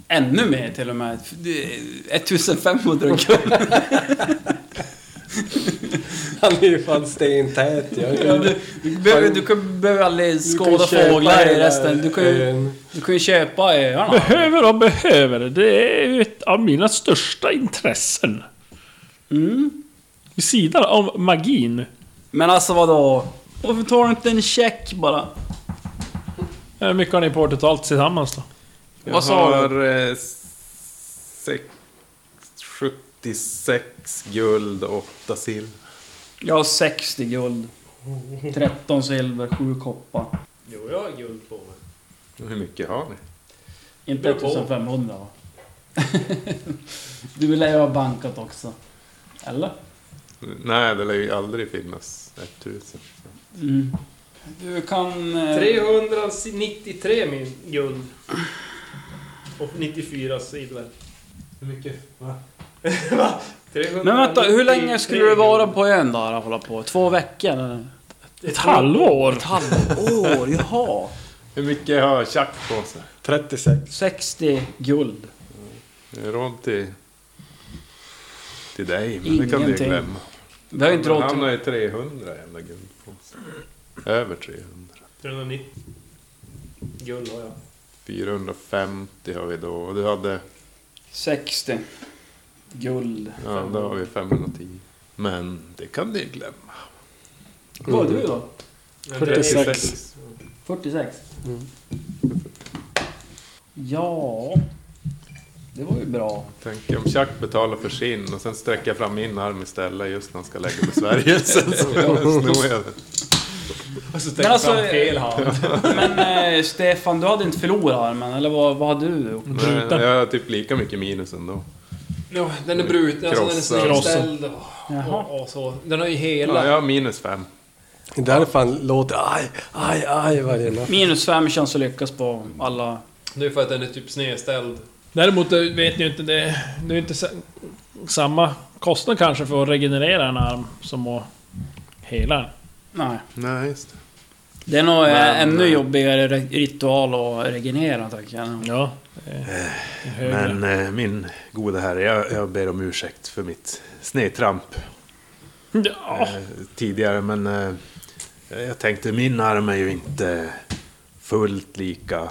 Ännu mer till och med. Det är 1500 guld.
Han är ju fan stentät. Jag kan,
Du, du, behöver, du kan, behöver aldrig
du kan
skåda
köpa
fåglar i
hela
resten. Du kan, ju,
ön.
du kan ju köpa öarna.
Behöver och behöver. Det är ju ett av mina största intressen.
Mm.
Vid sidan av magin.
Men alltså vadå? Varför tar du inte en check bara?
Hur mycket har ni på totalt tillsammans då?
jag
Vad sa
har eh, sex, 76 guld och 8 sill.
Jag har 60 guld. 13 silver, 7 koppar.
Jo, jag har guld på mig.
Hur mycket har ni?
Inte
Beror på.
1500 va? du vill ju ha bankat också. Eller?
Nej, det lär ju aldrig finnas 1000.
Mm. Du kan... eh,
393 min guld. Och 94 silver.
Hur mycket? Va?
Men vänta, hur länge skulle du vara på ön då? att Hålla på? Två veckor? Eller?
Ett halvår?
Ett halvår? Jaha.
Hur mycket har Chuck på sig?
36.
60 guld.
Råd till... Till dig, men det kan du ju
Ingenting.
glömma.
Vi har ju inte
Men
råd
Han
till...
har ju 300 jävla guld på sig. Över 300.
390 guld har jag.
450 har vi då och du hade...
60 guld.
Ja, då har vi 510. Men det kan du ju glömma.
Vad har du då?
46.
46?
Mm.
Ja... Det var ju bra.
Tänk om Chuck betalar för sin och sen sträcker jag fram min arm istället just när han ska lägga besvärjelsen. Så snor jag den.
Och så
Men
tänkte
alltså...
jag fel hand.
Men eh, Stefan, du hade inte förlorat armen, eller vad, vad hade du gjort?
Men Jag har typ lika mycket minus ändå.
Ja, den är bruten, alltså den är
Krossad.
snedställd och,
Jaha.
och, och så. Den har ju
Ja,
hela.
jag har minus fem.
Det där fan låter aj, aj, aj varje natt.
Minus fem chans att lyckas på alla...
Det är för att den är typ snedställd.
Däremot eh, vet ni ju inte det... Det är ju inte sa- samma kostnad kanske för att regenerera en arm som att hela den.
Nej.
Nej, just det.
Det är nog eh,
Men,
ännu
eh,
jobbigare re- ritual att regenera, tänker jag.
Ja. det är högre.
Men eh, min gode herre, jag, jag ber om ursäkt för mitt snedtramp.
Ja.
eh, tidigare. Men eh, jag tänkte min arm är ju inte fullt lika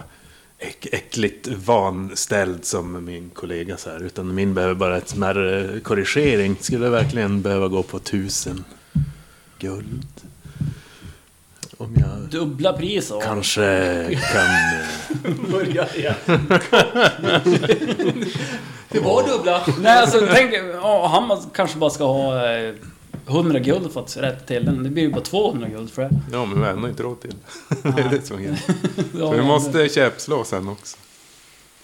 äck, äckligt vanställd som min kollegas här. Utan min behöver bara ett smärre korrigering. Skulle jag verkligen behöva gå på tusen guld. Om jag
Dubbla pris och...
kanske kan... eh,
Börja igen.
Det var dubbla.
Nej alltså tänk, ja, han kanske bara ska ha eh, 100 guld för att rätta till den. Det blir ju bara 200 guld för det.
Ja, men vi har ändå inte råd till det. det är det som är grejen.
Ja,
Så vi måste käppslå sen också.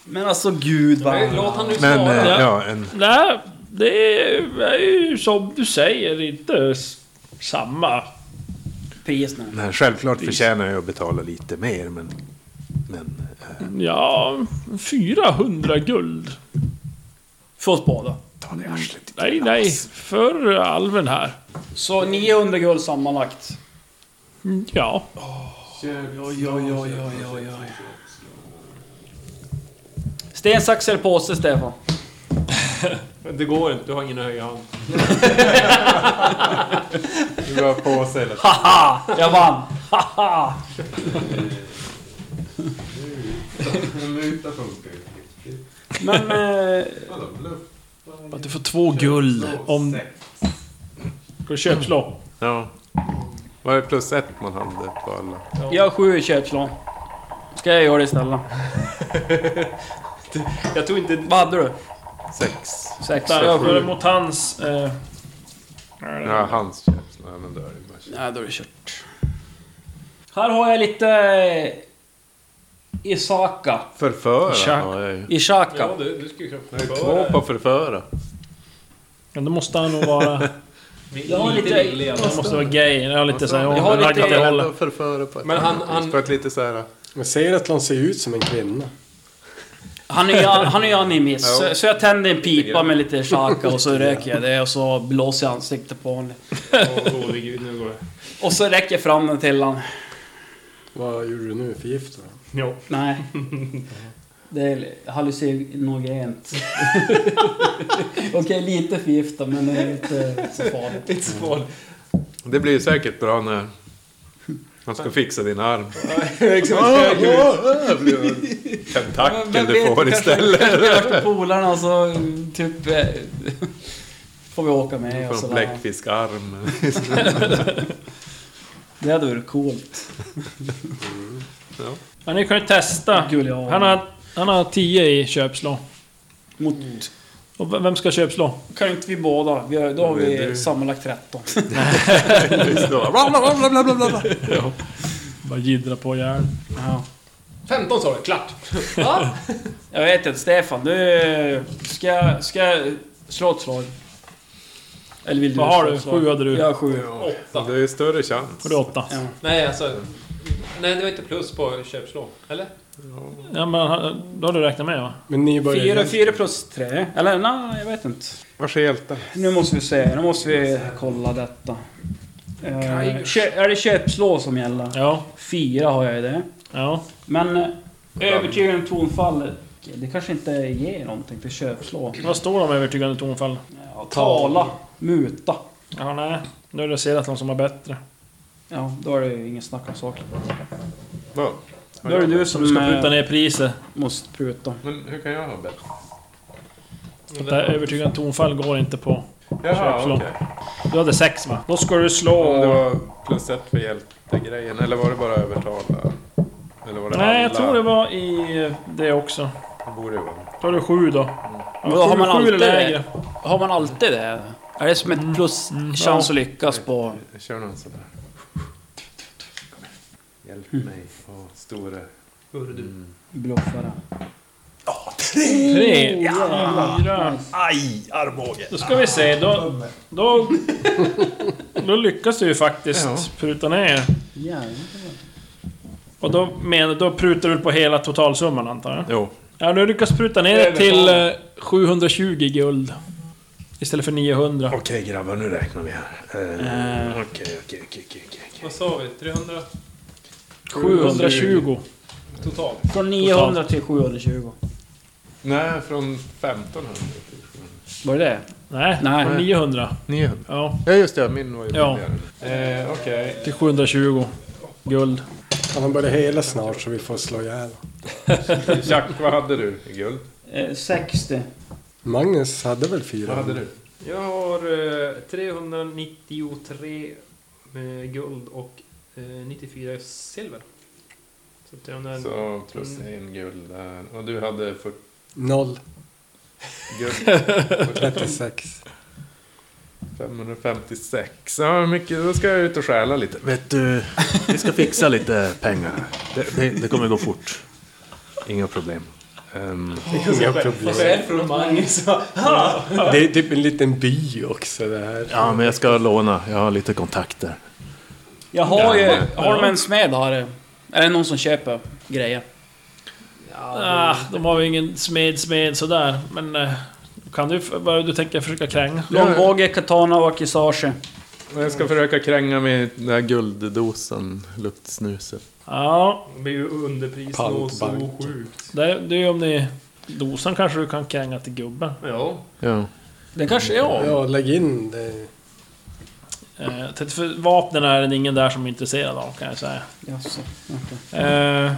Men alltså gud vad...
Nej, Låt han nu
Men
svara.
eh,
ja.
ja, en...
Nej, det är är ju som du säger inte s- samma.
Pris nu.
Nej, självklart förtjänar jag att betala lite mer, men... Men... Eh,
Ja, 400 guld.
För att bada.
ta det i arslet.
Nej, nej. För alven här.
Så 900 guld sammanlagt.
Ja.
Sten, sax eller påse Stefan?
Det går inte, du har ingen höja hand.
Du har på sig eller?
Haha! Jag vann! Haha!
En muta funkar ju.
Men... Eh,
Vadå, bluff?
Att du får två guld om...
Sex.
Ska du
Mm.
köpslå?
Ja. Var det plus ett man hade på alla?
jag har sju i köpslån. Ska jag göra det istället?
Jag tror inte...
Vad hade du?
Sex.
Sex?
Där,
jag har
då är det
sju.
mot hans... Eh,
Ja, hans käppslå. Ja, men då är det bara
Nej, då är det kört. Här har jag lite... eh, Isaka.
Förföra
Tja.
har jag ju.
Ishaka.
Ja, du, du skulle kunna
Jag har ju två på förföra.
men då måste han nog vara...
jag har lite...
Han måste vara gay. Jag har lite såhär...
Jag
Jag
har
har
lite-
lite...
Eller
Hållet.
förföra på ett
Men han-
annat
han-
vis, På ett lite så här...
Jag säger att hon ser ut som en kvinna.
Han är ju han är ju animist.
Ja.
Så, så jag tänder en pipa med lite Ishaka och så röker jag det och så blåser jag ansiktet på honom.
Åh, gode gud, nu går det.
Och så räcker jag fram den till honom.
Vad gjorde du nu? Förgiftade hon?
Jo.
Nej. Det är hallucinogent. Okej, lite förgiftad men det är inte så farligt.
Lite svårt.
Det blir ju säkert bra när han ska fixa din arm. Tentakel du får istället.
Vart polarna och så typ... eh, Får vi åka med och
Från
sådär.
bläckfiskarm.
Det hade varit coolt.
Men ni kan ju testa.
Gullig aning.
Han har, han har 10 i köpslå.
Mot...
Och v- vem ska köpslå?
Kan inte vi båda? Vi har, då har
Men
vi
du-
sammanlagt 13.
Bara jiddra på järn.
Ja.
15 sa du, klart.
Va? Jag vet inte, Stefan du... Ska, ska jag slå ett slag? Eller vill du
Vad har
slå
du?
ett slag?
Sju hade du.
Jag har sju.
Det är ju större chans.
Och du åtta.
Ja.
Nej, alltså. Nej, det var inte plus på köpslå. Eller?
Ja, men han- då har du räknat med va?
Men ni
Fyra,
började...
fyra plus tre. Eller nej, jag vet inte.
Vars hjälte?
Nu måste vi se, nu måste vi kolla detta. Eh, kö, är det köpslå som gäller?
Ja.
Fyra har jag ju det.
Ja.
Men eh, övertygande tonfall, det kanske inte ger någonting till köpslå.
Vad står de övertygande tonfall?
Ja, tala, muta.
Ja, nej. Nu har du sett någon som har bättre.
Ja, då är det ju ingen snack om saken.
Vad?
Då är det du
Som
som
ska pruta
eh,
ner priset.
måste pruta.
Men hur kan jag ha bett?
Det här övertygande tonfall går inte på.
Jaha,
Köpslå.
okej.
Du hade sex va? Då ska du slå...
Om det var plus ett för hjältegrejen. Eller var det bara övertala? Eller var det
Nej, jag
alla?
tror det var i det också.
Det borde ju vara.
Då har du sju då.
Men då har
Sju-
man
sju
alltid
eller
det.
lägre.
Har man alltid det? Är det som ett plus chans att lyckas på...
Jag kör någon sån där. Hjälp
Mm.
mig. Åh, store.
Bluffare.
Tre, fyra...
Aj, armbåge!
Då ska vi se, då... Då, då lyckas du ju faktiskt
Ja.
pruta ner. Och då, men, då prutar du på hela totalsumman antar jag?
Jo.
Ja, nu lyckas pruta ner det till eh, 720 guld. Istället för 900.
Okej grabbar, nu räknar vi här. Eh, Okej, okej, okej, okej, okej.
Vad sa vi? 300
720.
totalt?
Från 900 till 720.
Nej, från 1500.
Var det det?
Nej,
Nej.
900.
900.
Ja,
Ja, just det. Min var ju
Ja.
billigare. Eh, Okej.
till 720. Guld.
Ja, Han börjar hela snart så vi får slå ihjäl.
Jack, vad hade du i guld?
Eh, 60.
Magnus hade väl fyra?
Vad hade du?
Jag har eh, 393 med guld och eh, 94 silver. Så Mm. att jag har en-
Så plus en guld där. Och du hade 40
Noll.
guld.
36.
556. Ja, mycket. Då ska jag ut och stjäla lite.
Vet du, vi ska fixa lite pengar. Det, det, det kommer gå fort. Inga problem. Ehm,
Inga problem.
från
Mm.
Magnus.
Det är typ en liten by också det här.
ja, men jag ska låna. Jag har lite kontakter.
Jag har ju... Har de en smed har det? Är det någon som köper grejer?
Ah, de har ju ingen smed, smed sådär. Men... eh, Kan du... Bara du tänker försöka kränga?
Långbåge, katana och akisage.
Men Jag ska försöka kränga med den där gulddosan, luktsnuset.
Ja,
Det blir ju underpris nå
Pantbank.
så sjukt.
det, det är ju om ni... Dosan kanske du kan kränga till gubben.
Ja.
Ja.
Det kanske är jag.
Ja, lägg in det.
Eh, till- för vapnen är det ingen där som är intresserad av kan jag säga.
Jaså.
Eh,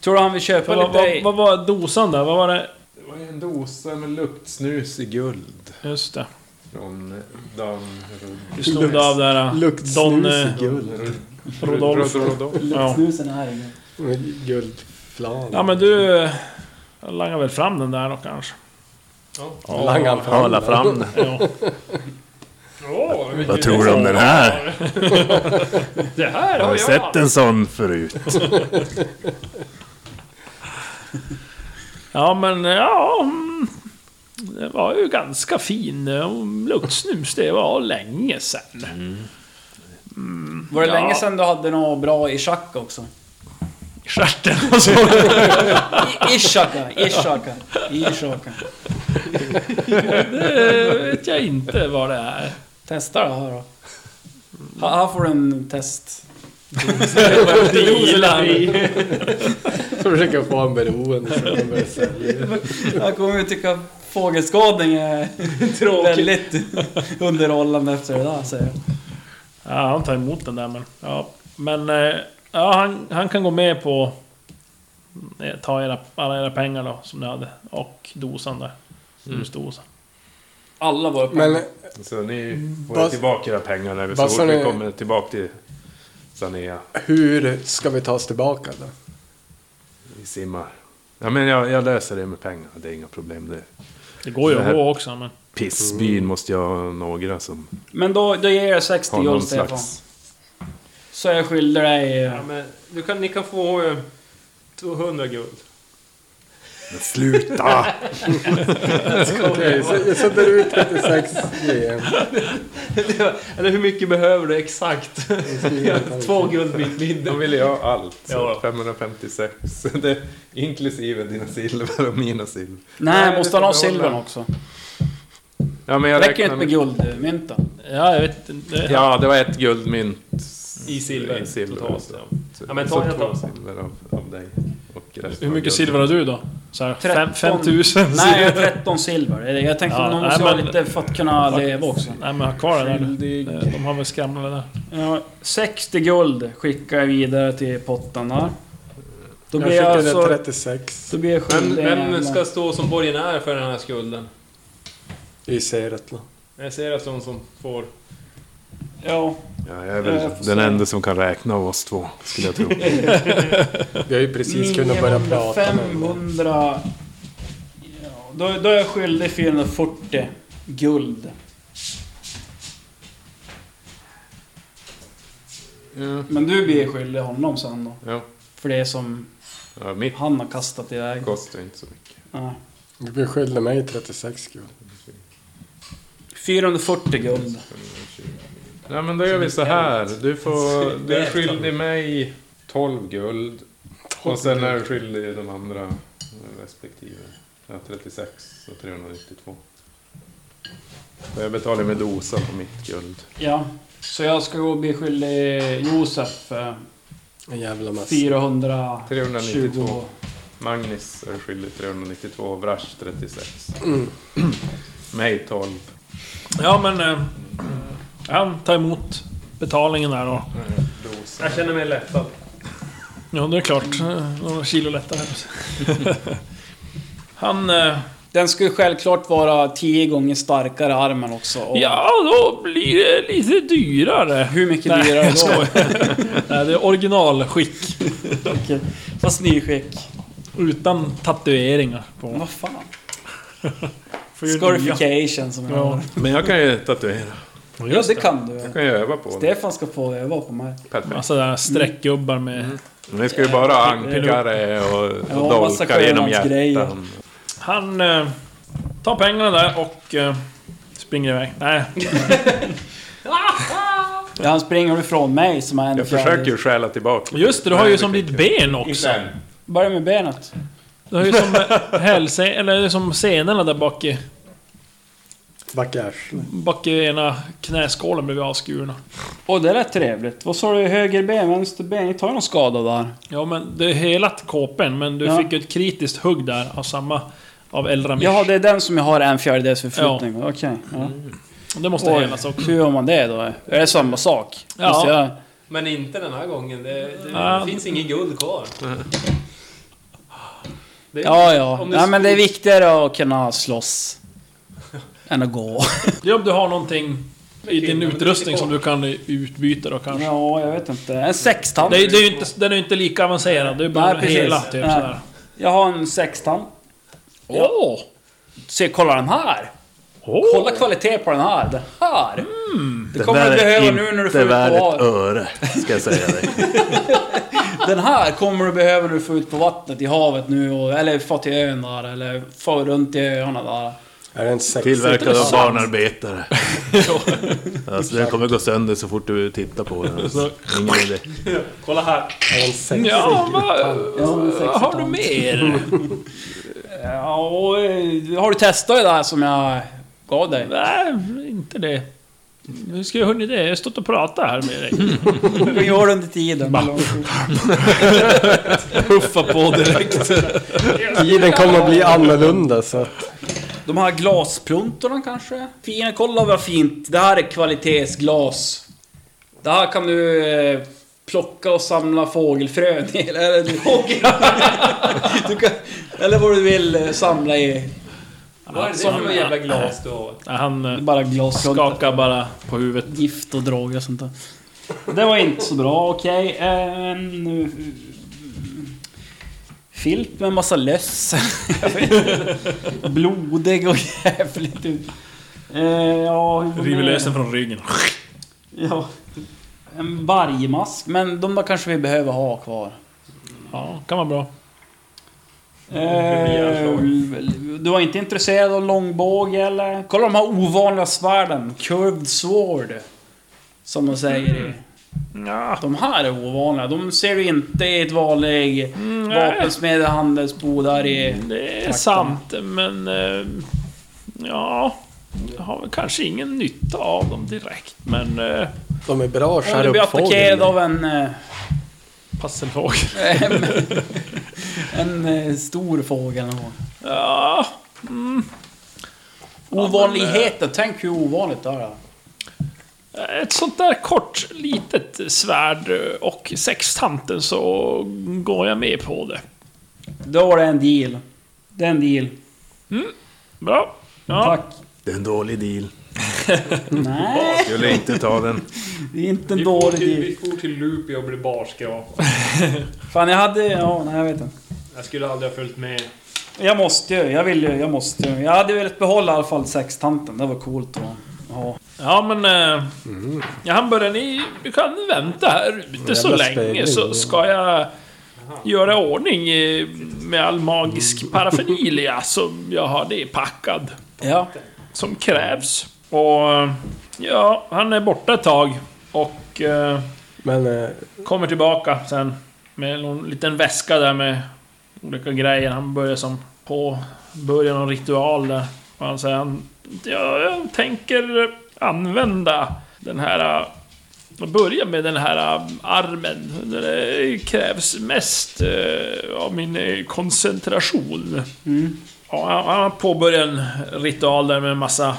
Tror du han vill köpa
vad, vad,
lite...
vad var dosan där? Vad var det?
Det var ju en dosa med luktsnus i guld.
Just det.
Från Dan Rud-
Du slog det av där... eh, Don,
Luktsnus
eh,
i guld.
Rud-
Rodolf.
Rud- Rodolf.
Ja.
Snusen är ingen.
Med Guldflan.
ja men du... eh, Jag langar väl fram den där då kanske.
Langan fram.
Hala fram det.
Ja.
Åh,
Vad tror du om den här?
det här
Har
har
du
jag!
sett en sån förut?
ja men ja... mm, Det var ju ganska fin eh, luktsnus. Det var länge sen.
Var det
Ja.
länge sedan du hade något bra i schack också?
Stjärten och så.
I- Ishaka, Ishaka, Ishaka.
Det vet jag inte vad det är.
Testa det här då. Ha- Här får du en test.
Det gillar
Så försöker jag få en beroende. så de börjar sälja.
Jag kommer ju tycka fågelskådning är väldigt underhållande efter det där säger jag.
Ja, han tar emot den där men... Ja, men... eh, Ja, han, han kan gå med på... eh, Ta era, alla era pengar då, som ni hade. Och dosan där. Snusdosan.
Alla våra pengar.
Men
Så ni får
Vad-
tillbaka era pengar när vi så
vad sa
fort vi
ni?
kommer tillbaka till Sanea.
hur ska vi ta oss tillbaka då?
Vi simmar. Ja, men jag, jag löser det med pengar. Det är inga problem. Det.
Det går ju
Det
att
här-
gå också men...
Pissbyn måste jag ha några som
Men då, då ger jag 60
har någon
guld Stefan.
slags...
Så jag skyller dig...
Ja,
eh,
men, du kan, ni kan få eh, 200 guld.
Men sluta!
Okej, så jag sätter ut 36 GM.
Eller hur mycket behöver du exakt? Två guld mitt mindre.
Då ville jag allt. Så
Ja.
556. Det, inklusive dina silver och mina silver.
Nej, måste han ha
det får vi
silvern
hålla.
också?
Ja, men jag
Räcker det inte
räknar
med
med...
guldmynten?
Ja, jag vet inte. Ja.
Ja, det var ett guldmynt.
I silver,
I silver.
totalt,
så. Så,
Ja, men
så
ta helt
två
av.
silver av, av dig. Och resten
Hur mycket
av guld.
silver har du då? Så här, fem,
13.
5000?
Nej, jag har 13 silver. Jag tänkte
Ja,
att någon
nej,
måste ha
men-
lite för att kunna leva också.
Nej men ha kvar den där Eh, De har väl skramlat där.
Ja, 60 guld skickar jag vidare till potten där. Då
Jag
blir jag,
skickade
alltså...
36
Då blir jag
Vem,
skyldig en
vem
jävla-
ska stå som borgenär för den här skulden?
i Seretla.
Jag ser att de som får...
Ja,
Ja, jag är
Ja, jag
väl
får
den
se.
enda som kan räkna av oss två, skulle jag tro.
Vi har ju precis kunnat börja
900,
prata med honom.
500... Ja, då, då är jag skyldig 440 guld.
ja.
Men du blir skyldig honom sen då.
Ja.
För det som
ja, mitt
han har kastat iväg.
kostar ju inte så mycket.
Ja.
Du beskyllde mig 36 guld.
440 guld.
Nej, men då gör vi så här. Du, får, du är skyldig mig 12 guld. Och sen är du skyldig de andra eh, respektive. Ja, 36 och 392. Och jag betalar med dosa på mitt guld.
Ja. Så jag ska gå och bli skyldig Josef eh,
En jävla massa.
420...
392. Magnus är skyldig 392, Vrash 36.
Mm.
Mig 12.
Ja, men... Eh, han tar emot betalningen där och...
Jag känner mig lättad.
Ja, det är klart. Eh, Några kilo lättare. han... Eh,
Den skulle självklart vara tio gånger starkare armen också. Och
ja, då blir det lite dyrare.
Hur mycket
Nej,
dyrare
jag
då?
skojar. Nej, det är originalskick.
Okej. Fast nyskick.
Utan tatueringar
Men
på.
Vad fan?
Får ju nya.
Scarification som jag
Ja.
har.
Men jag kan ju tatuera.
Ja, det kan du.
Jag kan ju öva på det.
Stefan ska få öva på mig.
Perfekt.
Massa där streckgubbar med...
Men det ska ju bara ankare och, och
Ja, massa
dolkar genom
skönhetsgrejer.
hjärtan.
Han eh, tar pengarna där och eh, springer iväg. Nej,
Ja, han springer ifrån mig som är en
Jag
fjärde.
försöker ju stjäla tillbaka.
just det. Du har ju som ditt ben också.
Börja med benet.
Du har ju som eh, hälse... Eller som senorna där bak i...
Backers.
Bak i ena knäskålen blev avskurna.
Och det lät trevligt. Vad sa du? Höger ben, vänster ben? Ni tar ju någon skada där.
Ja, men det är helat kåpen, men du
Ja.
fick ju ett kritiskt hugg där av samma... Av Eldramish.
Jaha, det är den som jag har en fjärdedels förflyttning. Okej. ja.
Det måste
Oj,
helas också.
Hur gör man det då? Är det samma sak?
Ja.
Måste jag...
Men inte den här gången. Det, det,
Ja.
det finns inget guld kvar. Det,
Ja, ja.
Om det-
Nej, men det är viktigare att kunna slåss. Än att gå.
Ja, om du har någonting i din
men det är
utrustning
lite
som du kan utbyta då kanske.
Ja, jag vet inte. En sextand.
Det, är- det är ju inte, den är ju inte lika avancerad. Det är bara
Nej, precis.
hela, typ
Nej.
sådär.
Jag har en sextand.
Åh! Oh.
Se, kolla den här! Kolla kvalitet på den här. Den här!
Mm.
Det kommer
där
du
är
behöva nu när du får
inte
ut
värd
på
ett
vattnet.
öre, ska jag säga dig.
Den här kommer du behöva när du får ut på vattnet i havet nu, och, eller få till ön där, eller få runt i öarna där.
Är det en sex?
Tillverkad av barnarbetare. alltså, den kommer gå sönder så fort du tittar på den. Alltså. Ingen idé.
Kolla här.
Är det en sex?
Ja, vad
Ja, men
vad har
sextand.
du mer?
Ja, och, eh, har du testat det där som jag gav dig?
Nej, inte det. Hur ska jag hunnit det? Jag har stått och pratat här med dig.
Vad gör du under tiden?
Puffa på direkt.
Tiden kommer att bli annorlunda så att...
De här glaspluntorna kanske? Fina, kolla vad fint. Det här är kvalitetsglas. Det här kan du eh, plocka och samla fågelfrön i. Eller, eller, du, du kan, eller vad du vill eh, samla i.
vad är det för något jävla glas du har?
Nej, Han eh,
Bara glaspluntor.
skakar bara på huvudet.
Gift och droger och sånt där. Det var inte så bra. Okej. En... eh, Filt med massa löss. Jag vet inte. Blodig och jävligt. ut. Eh, ja, hur var
River
det?
lösen från ryggen.
Ja. En vargmask, men de där kanske vi behöver ha kvar.
Ja, kan vara bra.
Eh, du var inte intresserad av långbåge eller? Kolla de här ovanliga svärden. Curved sword. Som de säger i.
Ja.
De här är ovanliga. De ser du inte i ett vanligt vapensmedhandelsbo där i...
Det är
Tack,
sant, men... eh, Ja... Jag har väl kanske ingen nytta av dem direkt, men... eh,
De är bra att
Om
skära
du blir
upp
attackerad
fågeln.
av en... eh,
Passelfågel.
En eh, stor fågel eller vad.
Ja...
eh, Ovanligheter. Tänk hur ovanligt det här är.
Ett sånt där kort, litet svärd eh, och sextanten så går jag med på det.
Då var det en deal. Det är en deal.
Bra. Ja.
Tack.
Det är en dålig deal.
Nej.
Skulle inte ta den.
Det är inte en
Vi for
dålig
till,
deal.
vi for till Lupi och blev barskrapa.
Fan jag hade... Ja, nej jag vet inte.
Jag skulle aldrig ha följt med.
Jag måste ju, jag vill ju, jag måste ju. Jag hade velat behålla i alla fall sextanten, det var coolt att ha.
Ja men... eh, Ja, han börjar ni vi kan vänta här ute så
Jävla
länge
spegling.
så ska jag göra i ordning eh, med all magisk paraffernilia som jag har det packad.
Ja.
Som krävs. Och... eh, Ja, han är borta ett tag. Och... eh,
Men eh,
Kommer tillbaka sen med någon liten väska där med olika grejer. Han börjar som på början av ritual där. Och han säger han, ja, jag tänker använda den här eh, Man börjar med den här um, armen. Det krävs mest eh, av min eh, koncentration.
Mm.
Ja, han- han påbörjar en ritual där med en massa...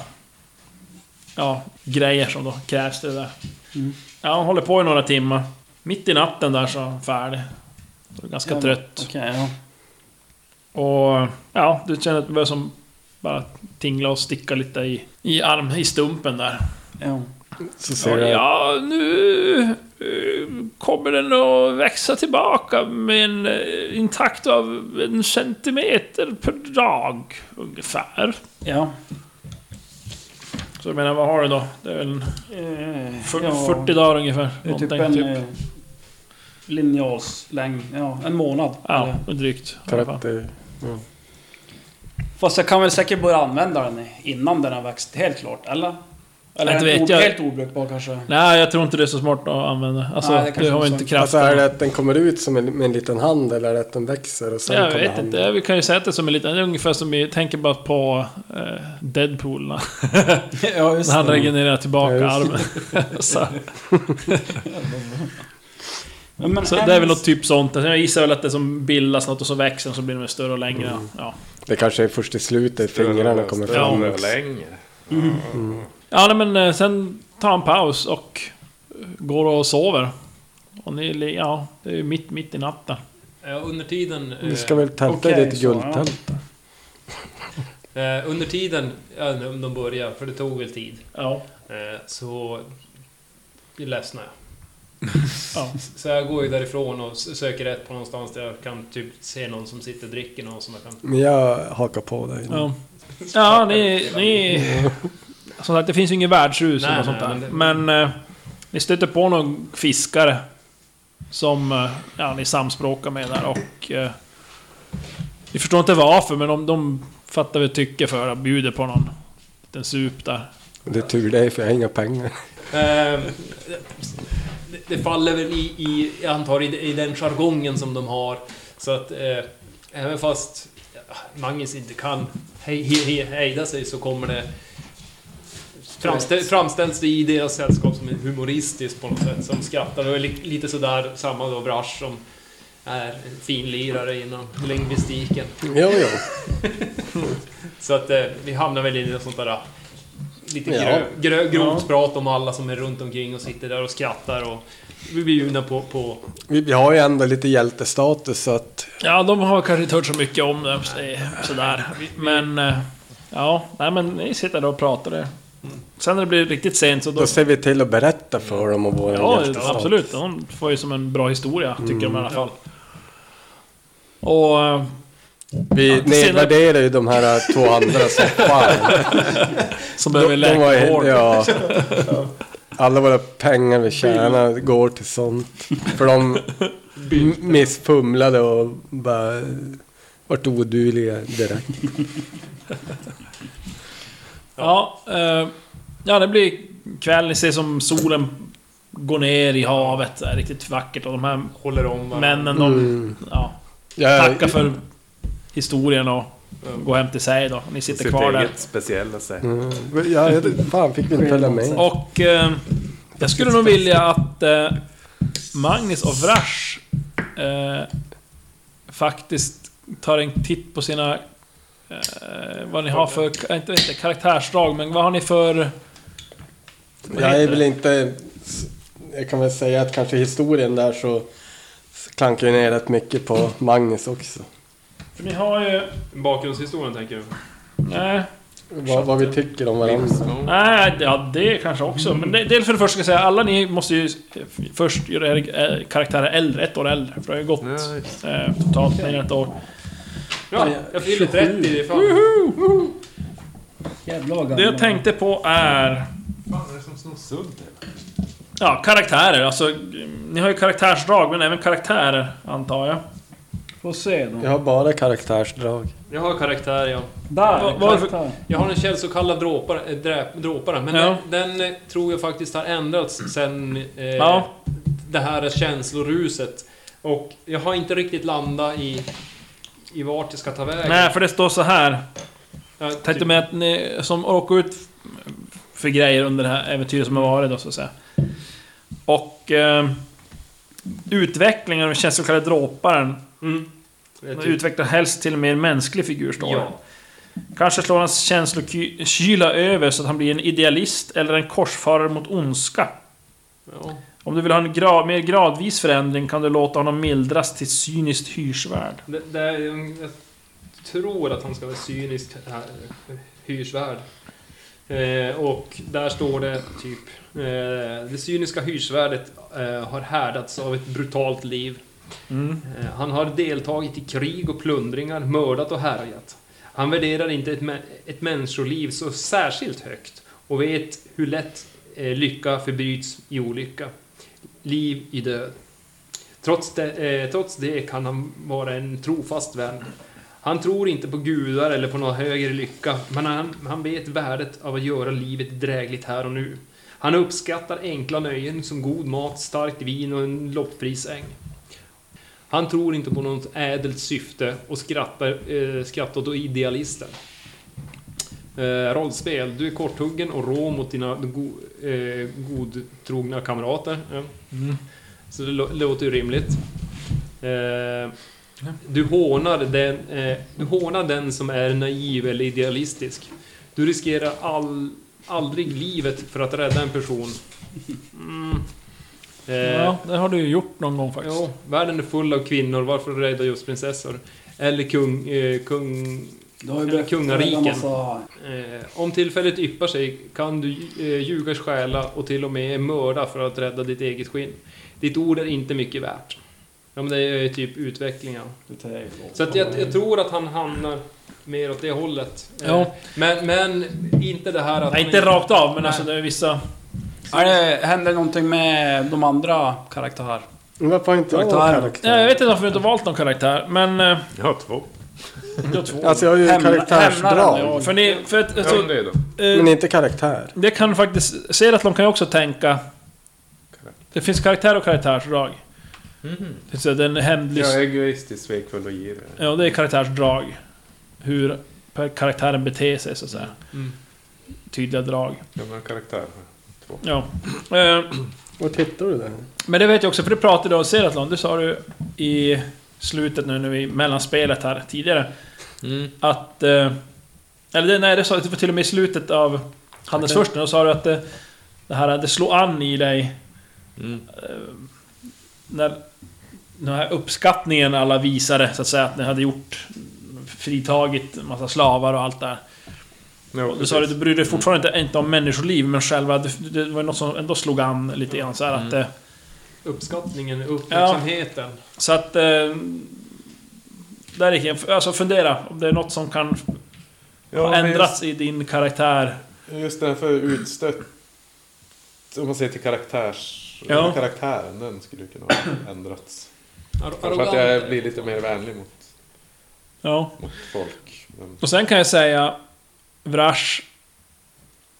Ja, grejer som då krävs det där.
Mm.
Ja, han håller på i några timmar. Mitt i natten där så är han färdig. Då är han Ganska
Ja,
trött.
Okej, ja.
Och ja, du känner att det börjar som bara tingla och sticka lite i, i arm, i stumpen där.
ja.
Så
Ja,
ser
Eh.
jag
ja, nu eh, kommer den att växa tillbaka med en eh, intakt av en centimeter per dag ungefär.
Ja.
Så jag menar, vad har du då? Det är väl en
Eh,
fyr-
ja.
40 dagar ungefär.
Det är typ
någonting,
en eh, linjalslängd. Ja, en månad.
Ja,
Eller-
drygt. i alla fall.
30.
Fast jag kan väl säkert börja använda den innan den har växt helt klart, eller? Eller
Inte
är den
vet
o-
jag.
helt obrukbar kanske?
Nej, jag tror inte det är så smart att använda. Alltså,
Nej, det kanske
du har
inte
ju
är
inte
så.
kraft.
Alltså är det att den kommer ut som en, med en liten hand eller är det att den växer och sen
jag
kommer
vet
handen?
inte, vi kan ju säga att det är som en liten... Det är ungefär som vi tänker bara på eh, Deadpool. när-
ja, just
När han regenererar tillbaka
Ja,
armen. så
Ja, men
så
en-
det är väl något typ sånt. Alltså, Jag gissar väl att det som bildas något och så växer den så blir den väl större och längre. Ja.
Det kanske är först i slutet fingrarna kommer fram.
Större och längre.
ja, nej, men eh, sen tar han paus och eh, går och sover. Och ni, li- ja, det är ju mitt, mitt i natten.
Eh, Under tiden... eh,
Vi ska väl tälta
Okej,
i ditt
så, ja.
guldtält.
eh, Under tiden, ja, när de började, för det tog väl tid,
Ja.
eh, så ledsnar jag.
Ja.
Så jag går ju därifrån och s- söker rätt på någonstans där jag kan typ se någon som sitter och dricker någon som jag kan...
Men jag hakar på dig.
Ja, ja ni, ni... Som sagt, det finns ju inget värdshus eller
Nej,
något sånt
nej,
där.
men
Men, eh, ni stöter på någon fiskare. Som eh, ja, ni samspråkar med där och... Eh, ni förstår inte varför, men de, de fattar väl tycke för att bjuder på någon liten sup där.
Det är tur det för jag har inga pengar.
Eh, det, det faller väl i, i jag antar, i, i den jargongen som de har. Så att eh, även fast Magnus inte kan hej, hej, hej, hejda sig så kommer det... Framställ, framställs det i deras sällskap som humoristiskt på något sätt, som skrattar. Det är li, lite sådär samma då Brash som är en finlirare inom lingvistiken.
Jo, jo.
Så att eh, vi hamnar väl i något sånt där... eh, Lite
Ja.
grö, grö, grovt prat om alla som är runt omkring och sitter där och skrattar och... Vi blir bjudna på... på
Vi, vi har ju ändå lite hjältestatus så att...
Ja, de har kanske inte hört så mycket om det, så det är sådär. Men... eh, Ja, nej men ni sitter där och pratar. där.
Mm.
Sen när det blir riktigt sent så då...
Då ser vi till att berätta för dem om vår
Ja,
hjältestatus.
absolut. De får ju som en bra historia, tycker
Mm.
de i alla fall. Och... eh,
Vi nedvärderar ju de här två andra som fan.
Som
De,
behöver
de var,
läkarvård.
ju- ja. Alla våra pengar vi tjänar går till sånt. För de m- missfumlade och bara vart odugliga direkt.
Ja, eh, ja, det blir kväll. Ni ser som solen går ner i havet. Det är riktigt vackert. Och de här
håller om varandra.
männen,
Mm.
de... Ja,
Eh,
tackar för historien och går hem till sig då. Ni sitter
Sitt
kvar där.
eget speciella sätt.
Mm. Ja, jag- fan fick vi inte följa med?
Och... Eh, jag skulle nog vilja att eh, Magnus och Vrash eh, faktiskt tar en titt på sina... Eh, vad ni har för... eh, Inte vet jag, karaktärsdrag, men vad har ni för... vad
Jag
heter
är
det?
väl inte... Jag kan väl säga att kanske historien där så klankar ju ner rätt mycket på Magnus också.
För ni har ju...
Bakgrundshistorien tänker du?
Nej,
Vad, vad vi tycker om varandra.
nej ja, det kanske också. Men det, det är för det första ska jag säga, alla ni måste ju först göra er eh, karaktärer äldre, ett år äldre. För det har ju gått eh, totalt mer än ett år.
Ja, jag fyller 30, det är fan...
Jävla gammal.
Det jag tänkte på är...
fan är det som snor sudd?
Ja, karaktärer. Alltså, ni har ju karaktärsdrag, men även karaktärer, antar jag.
Får se då.
Jag har bara karaktärsdrag.
Jag har karaktär, ja.
Där!
Vad- vad är det för-
karaktär.
Jag har en käll så kallad dråpare, äh, dräp, dråpare men
Ja.
den, den eh, tror jag faktiskt har ändrats sen eh,
Ja.
det här känsloruset. Och jag har inte riktigt landat i, i vart jag ska ta vägen.
Nej, för det står så här.
jag,
Tänkte med att ni som råkar ut för grejer under det här äventyret som har varit då, så att säga. Och eh, utvecklingen av den känslokalla dråparen
Jag
man
tycker-
utvecklar helst till en mer mänsklig figur, står det.
typ- Ja.
Kanske slår hans känslokyla över så att han blir en idealist eller en korsfarare mot ondska.
Ja.
Om du vill ha en gra- mer gradvis förändring kan du låta honom mildras till cyniskt hyrsvärd.
Det, det är, jag tror att han ska vara cynisk här, hyrsvärd. Eh, och där står det typ eh, Det cyniska hyrsvärdet eh, har härdats av ett brutalt liv. Eh, han har deltagit i krig och plundringar, mördat och härjat. Han värderar inte ett, mä- ett människoliv så särskilt högt och vet hur lätt eh, lycka förbyts i olycka. Liv i död. Trots det, eh, trots det kan han vara en trofast vän. Han tror inte på gudar eller på någon högre lycka, men han, han vet värdet av att göra livet drägligt här och nu. Han uppskattar enkla nöjen som god mat, starkt vin och en loppfri säng. Han tror inte på något ädelt syfte och skrattar, eh, skrattar åt idealisten. Eh, rollspel. Du är korthuggen och rå mot dina go, eh, godtrogna kamrater. Ja. Så det lå- låter ju rimligt. Eh, du, hånar den, eh, du hånar den som är naiv eller idealistisk. Du riskerar all, aldrig livet för att rädda en person. Mm. Eh,
Ja, det har du ju gjort någon gång faktiskt.
Jo, världen är full av kvinnor, varför rädda just prinsessor? Eller kung... Eh, kung
Du har ju
Eller
behövt
kungariken.
rädda massa-
eh, om tillfället yppar sig kan du eh, ljuga, stjäla och till och med mörda för att rädda ditt eget skinn. Ditt ord är inte mycket värt. Ja, men det är ju typ utvecklingen.
lite ägg.
Så att jag, jag tror att han hamnar mer åt det hållet. Eh,
Ja.
Men, men inte det här att...
Nej,
han
inte rakt av, men
Nej.
alltså det är vissa...
Ja, det hände någonting med de andra karaktärer.
Men Varför har inte jag
Karaktär.
karaktär?
Ja, jag vet inte varför du inte har valt någon karaktär, men... eh,
Jag har två.
Du har två.
Alltså jag har ju
Hämna-
karaktärsdrag.
hämnaren,
För ni... För att,
Ja, men
alltså,
det då.
eh,
Mm.
Men inte karaktär.
Det kan faktiskt... Seratlon kan ju också tänka... Det finns karaktär och karaktärsdrag.
Mhm.
Det finns en hämndlyst...
Jag är egoistisk, svekfull och girig.
Ja, det är karaktärsdrag. Hur per- karaktären beter sig, så att säga.
Mm.
Tydliga drag.
Jag har karaktär.
Ja. Eh,
Var tittar du där?
Men det vet jag också, för det pratade du om Seratlon, det sa du i slutet nu när vi mellanspelet här tidigare. Att... eh, Eller det- nej, det sa du det var till och med i slutet av Handelsfursten, då sa du att det, det här, det slår an i dig. eh, När den här uppskattningen alla visade, så att säga, att ni hade gjort fritagit en massa slavar och allt där.
Ja,
Och du sa att du brydde dig fortfarande inte, inte om människoliv, men själva... Det, det var något som ändå slog an lite grann så här att... eh,
Uppskattningen, uppmärksamheten.
Så att... Eh, där gick jag. Alltså fundera om det är något som kan
Ja,
ha
men
ändrats i din karaktär.
Just, just den här för utstött. Om man ser till karaktärs...
Ja.
eller Karaktären, den skulle ju kunna ha ändrats.
Ar-
Kanske att
arrogant.
jag blir lite mer vänlig mot,
Ja.
mot folk. Men
Och sen kan jag säga... Vrash.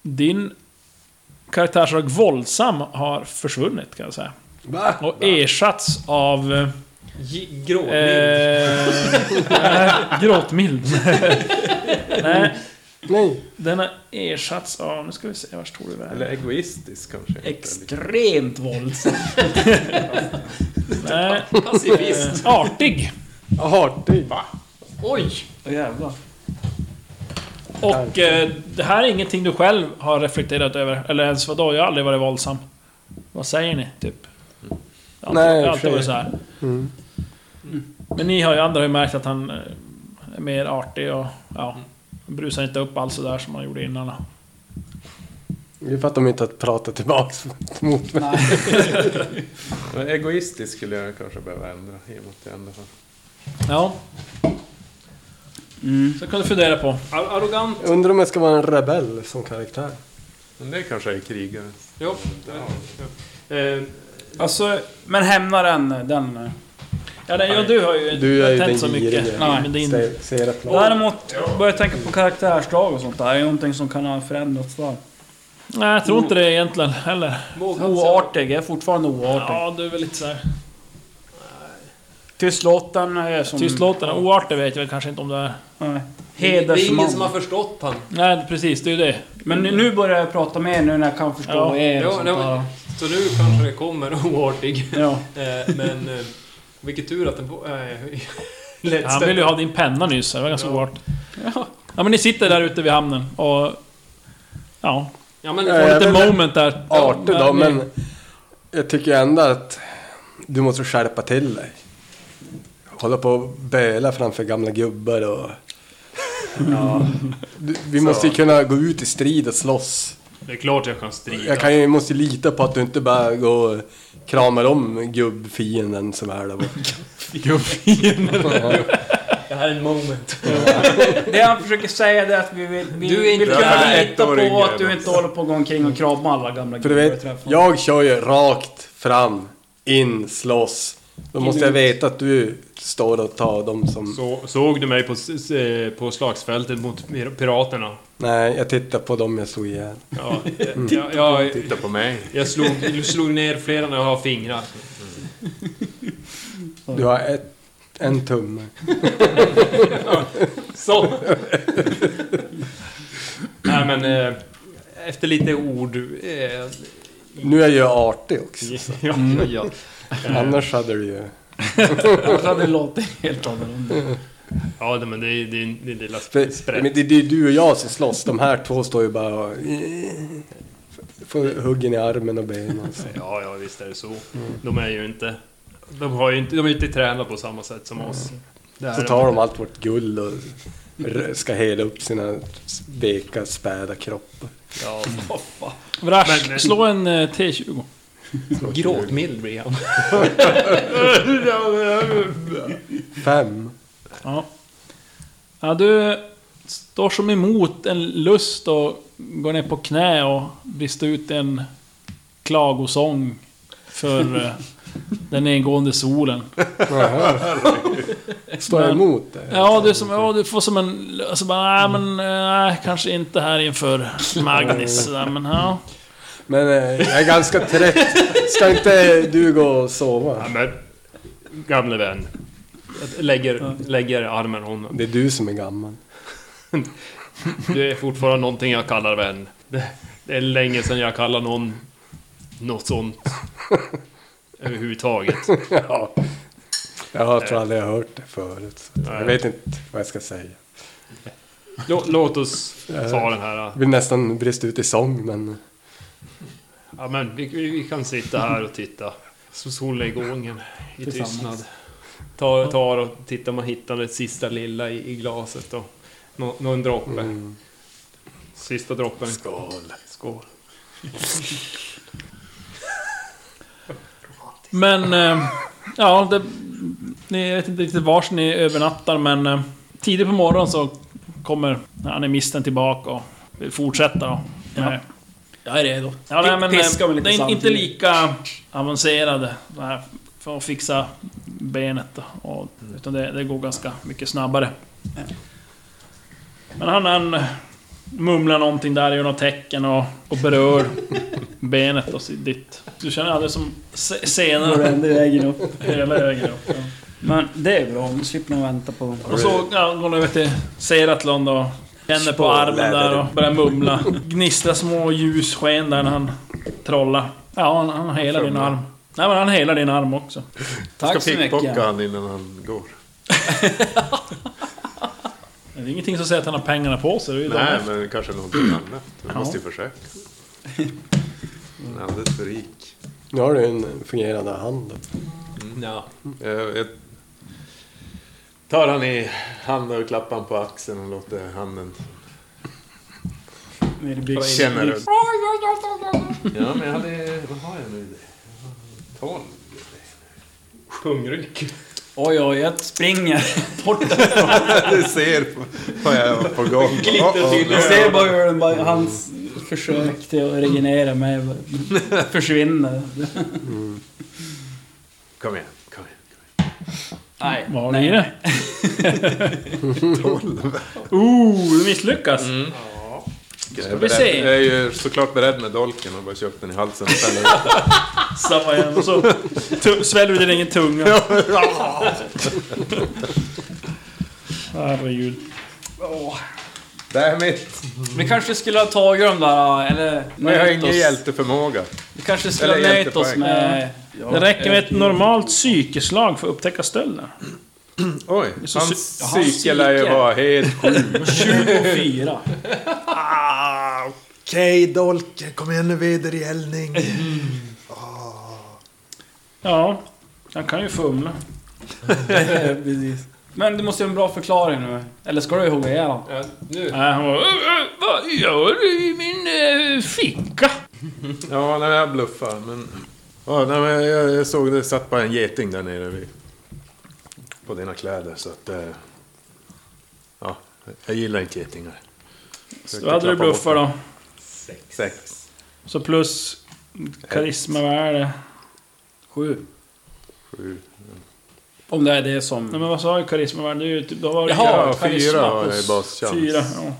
Din karaktärsdrag våldsam har försvunnit kan jag säga.
Va?
Och ersatts av... eh,
G- Gråtmild.
Eh, gråtmild. Nej,
Nej.
den har ersatts av... Nu ska vi se, vart tog det vägen?
Eller egoistisk kanske.
Extremt våldsam.
Nej,
Pacifist.
eh, artig.
Artig.
Oj!
Åh jävlar.
Och eh, det här är ingenting du själv har reflekterat över. Eller ens vadå, jag har aldrig varit våldsam. Vad säger ni, typ? Jag har alltid-
Nej,
jag har
för
alltid
sig. Mm.
varit så här. Men ni har ju andra har ju märkt att han eh, är mer artig och ja, han brusar inte upp alls så där som han gjorde innan.
Det är för att de inte har pratat tillbaks mot mig.
Men egoistisk skulle jag kanske behöva ändra i och med att jag ändå har...
Ja.
Mm.
Så kan du fundera på.
Ar- arrogant.
Jag undrar om jag ska vara en rebell som karaktär.
Men det kanske är krigare.
Jo. Eh,
Alltså, men hämnaren, den... eh,
Ja, nej, ja, du har ju inte
Du är ju
tänt så
den girige.
mycket.
Nej,
men din,
Ser, ser ett plan.
Däremot, börjar jag tänka på karaktärsdrag och sånt där. Är det någonting som kan ha förändrats där?
nej, jag tror inte det egentligen heller.
vågat säga-
Oartig, jag är fortfarande oartig.
Ja, du är väl lite såhär...
Tystlåten är som...
Tystlåten, oartig vet jag väl kanske inte om det är.
Nej.
Det är ingen som har
Hedersman.
förstått han.
Nej, precis, det är ju det.
Men nu- nu börjar jag prata med er nu när jag kan förstå
Ja.
er
Jo,
och sånt
nej,
där.
men-
Så nu kanske det kommer oartig.
Ja.
Eh, Men eh, vilken tur att den... på- eh, lätt
Han ville ju ha din penna nyss, det var ganska
Ja.
hårt. Ja men ni sitter där ute vid hamnen och... Ja,
Ja, men,
får
Eh,
Ja,
lite
men-
moment där.
Arter
Ja,
då, men jag tycker ändå att du måste skärpa till dig. Hålla på och böla framför gamla gubbar och... Du, vi måste ju kunna gå ut i strid och slåss.
Det är klart jag kan strida.
Jag kan ju, måste ju lita på att du inte bara går och kramar om gubbfienden som är där borta.
det här är en moment.
Det han försöker säga det är att vi vill... Vi,
Du är inte
vi vill kunna
där.
lita på
Ettåringar,
att du inte håller på att gå omkring och krama alla gamla
För du vet,
träffar.
jag kör ju rakt fram, in, slåss. Då måste jag
ut.
veta att du står och tar dem som...
Så, såg du mig på, s- s- eh, på slagsfältet mot pir- piraterna?
Nej, jag tittar på dem jag slog ihjäl.
Ja, jag, jag, jag,
Mm. Titta på mig.
jag slog, slog ner flera när jag har fingrar.
Du har ett, en tumme.
Så! Nej men... Eh, efter lite ord... Eh,
Nu är jag ju artig också.
ja,
Mm.
ja.
Annars hade du ju...
Jag hade låtit helt annorlunda.
ja det- men det är din lilla
För,
sp-
men
sprätt.
det, det är du och jag som slåss. De här två står ju bara och... Får huggen i armen och benen. och så.
Ja, ja visst är det så. De är ju inte... De, har ju inte, de är ju inte tränade på samma sätt som oss. Det
Så
här-
tar de allt vårt guld och r- ska hela upp sina veka, späda kroppar.
Ja,
Vrash,
Men-
slå en eh, T20.
Gråtmild blir han.
Fem.
Ja. ja, du står som emot en lust och går ner på knä och brister ut en klagosång för eh, den nedgående solen.
Står jag emot det?
Ja, du, som, ja, du får som en... Alltså bara, nej men, eh, nej, kanske inte här inför Magnus. sådär, men ja.
Men eh, jag är ganska trött. Ska inte du gå och sova?
Ja, men, gamle vän. Jag Lägger, lägger armen om honom.
Det är du som är gammal.
Du är fortfarande någonting jag kallar vän. Det, det är länge sedan jag kallar någon något sånt. Överhuvudtaget.
Ja. Jag tror aldrig jag har hört det förut. så att Jag
Nej.
vet inte vad jag ska säga.
Lå- Låt oss ta den här.
Jag vill nästan brista ut i sång, men...
Ja, men vi, vi vi kan sitta här och titta. Så solnedgången i tystnad. Tar, tar och tittar man hittar det sista lilla i, i glaset och nå, någon droppe.
Mm.
Sista droppen. Skål. Skål.
Men, eh, ja, det, ni vet inte riktigt vars ni övernattar men eh, tidigt på morgonen så kommer animisten tillbaka och vill fortsätta då. Ja.
Jag är redo.
Ja, nej, men, eh,
Piska mig lite
det är inte
samtidigt.
lika avancerade det här, för att fixa benet. då, Och, utan det, det går ganska mycket snabbare. Men han, han mumlar någonting där, gör något tecken och, och berör benet och så ditt. Du känner aldrig som se-
Går
senare
ändå vägen upp.
hela vägen upp. Ja.
Men det är bra, nu slipper man vänta på...
Och så ja, går han över till Seratlon då. Känner på armen där och börjar mumla. Gnistrar små ljussken där när han trollar. Ja, han, han helar din arm. Nej men han helar din arm också.
Tack så
Ska
mycket.
pickpocka han innan han går.
Det är ingenting som säger att han har pengarna på sig. Det är ju
Nej,
de-
men kanske någonting annat. Vi måste ju försöka. Han är alldeles för rik.
Nu har du en fungerande hand.
Ja.
Eh, Jag, jag tar han i handen och klappar han på axeln och låter handen... Känner du? Ja, men jag hade... Vad har jag nu? Tolv.
Pungryck.
Oj, oj, jag springer.
Du ser vad jag var på gång. Oh, oh.
Jag ser bara hur den bara, hans försök till att regenera mig bara försvinner.
Kom igen, kom igen.
Nej.
Vad har ni i det? Oh, du misslyckas!
Jag är,
vi se.
beredd. jag är ju såklart beredd med dolken och bara köpt den i halsen. och fäller den.
Samma igen och så tu- sväljer du din egen tunga. Herregud.
Damn it!
Vi kanske skulle ha tagit dem där, eller...
Men jag har
nöjt
ingen
oss.
hjälteförmåga.
Vi kanske skulle ha
eller
nöjt oss
hjältepoäng.
med...
Det räcker
eh,
med ett normalt psykeslag för att upptäcka stölden.
Oj,
Så
hans
sy- ja, hans
psyke lär ju
psyke.
vara helt sjuk.
24.
Ah, Okej, Dolke. Kom igen nu, vedergällning.
Ja, han kan ju fumla.
Precis. Men du måste ju ha en bra förklaring nu. Eller ska du hugga ihjäl honom?
Ja, nu.
Nej, han bara... "Äh, äh, Vad gör du i min eh, ficka?
Ja, nej, jag bluffar. Men...
Ja, nej, men jag, jag såg det satt bara en geting där nere vid, på dina kläder. Så att, eh, ja, jag gillar inte getingar.
Då hade du bluffar då.
Sex.
Så plus karisma, vad är det?
7.
Sju.
Om det är det som...
Nej men vad sa jag karisma var? Det är ju typ... Då var det
Jaha,
Ja,
karisma
fyra har jag i
plus
baschans.
fyra. Ja.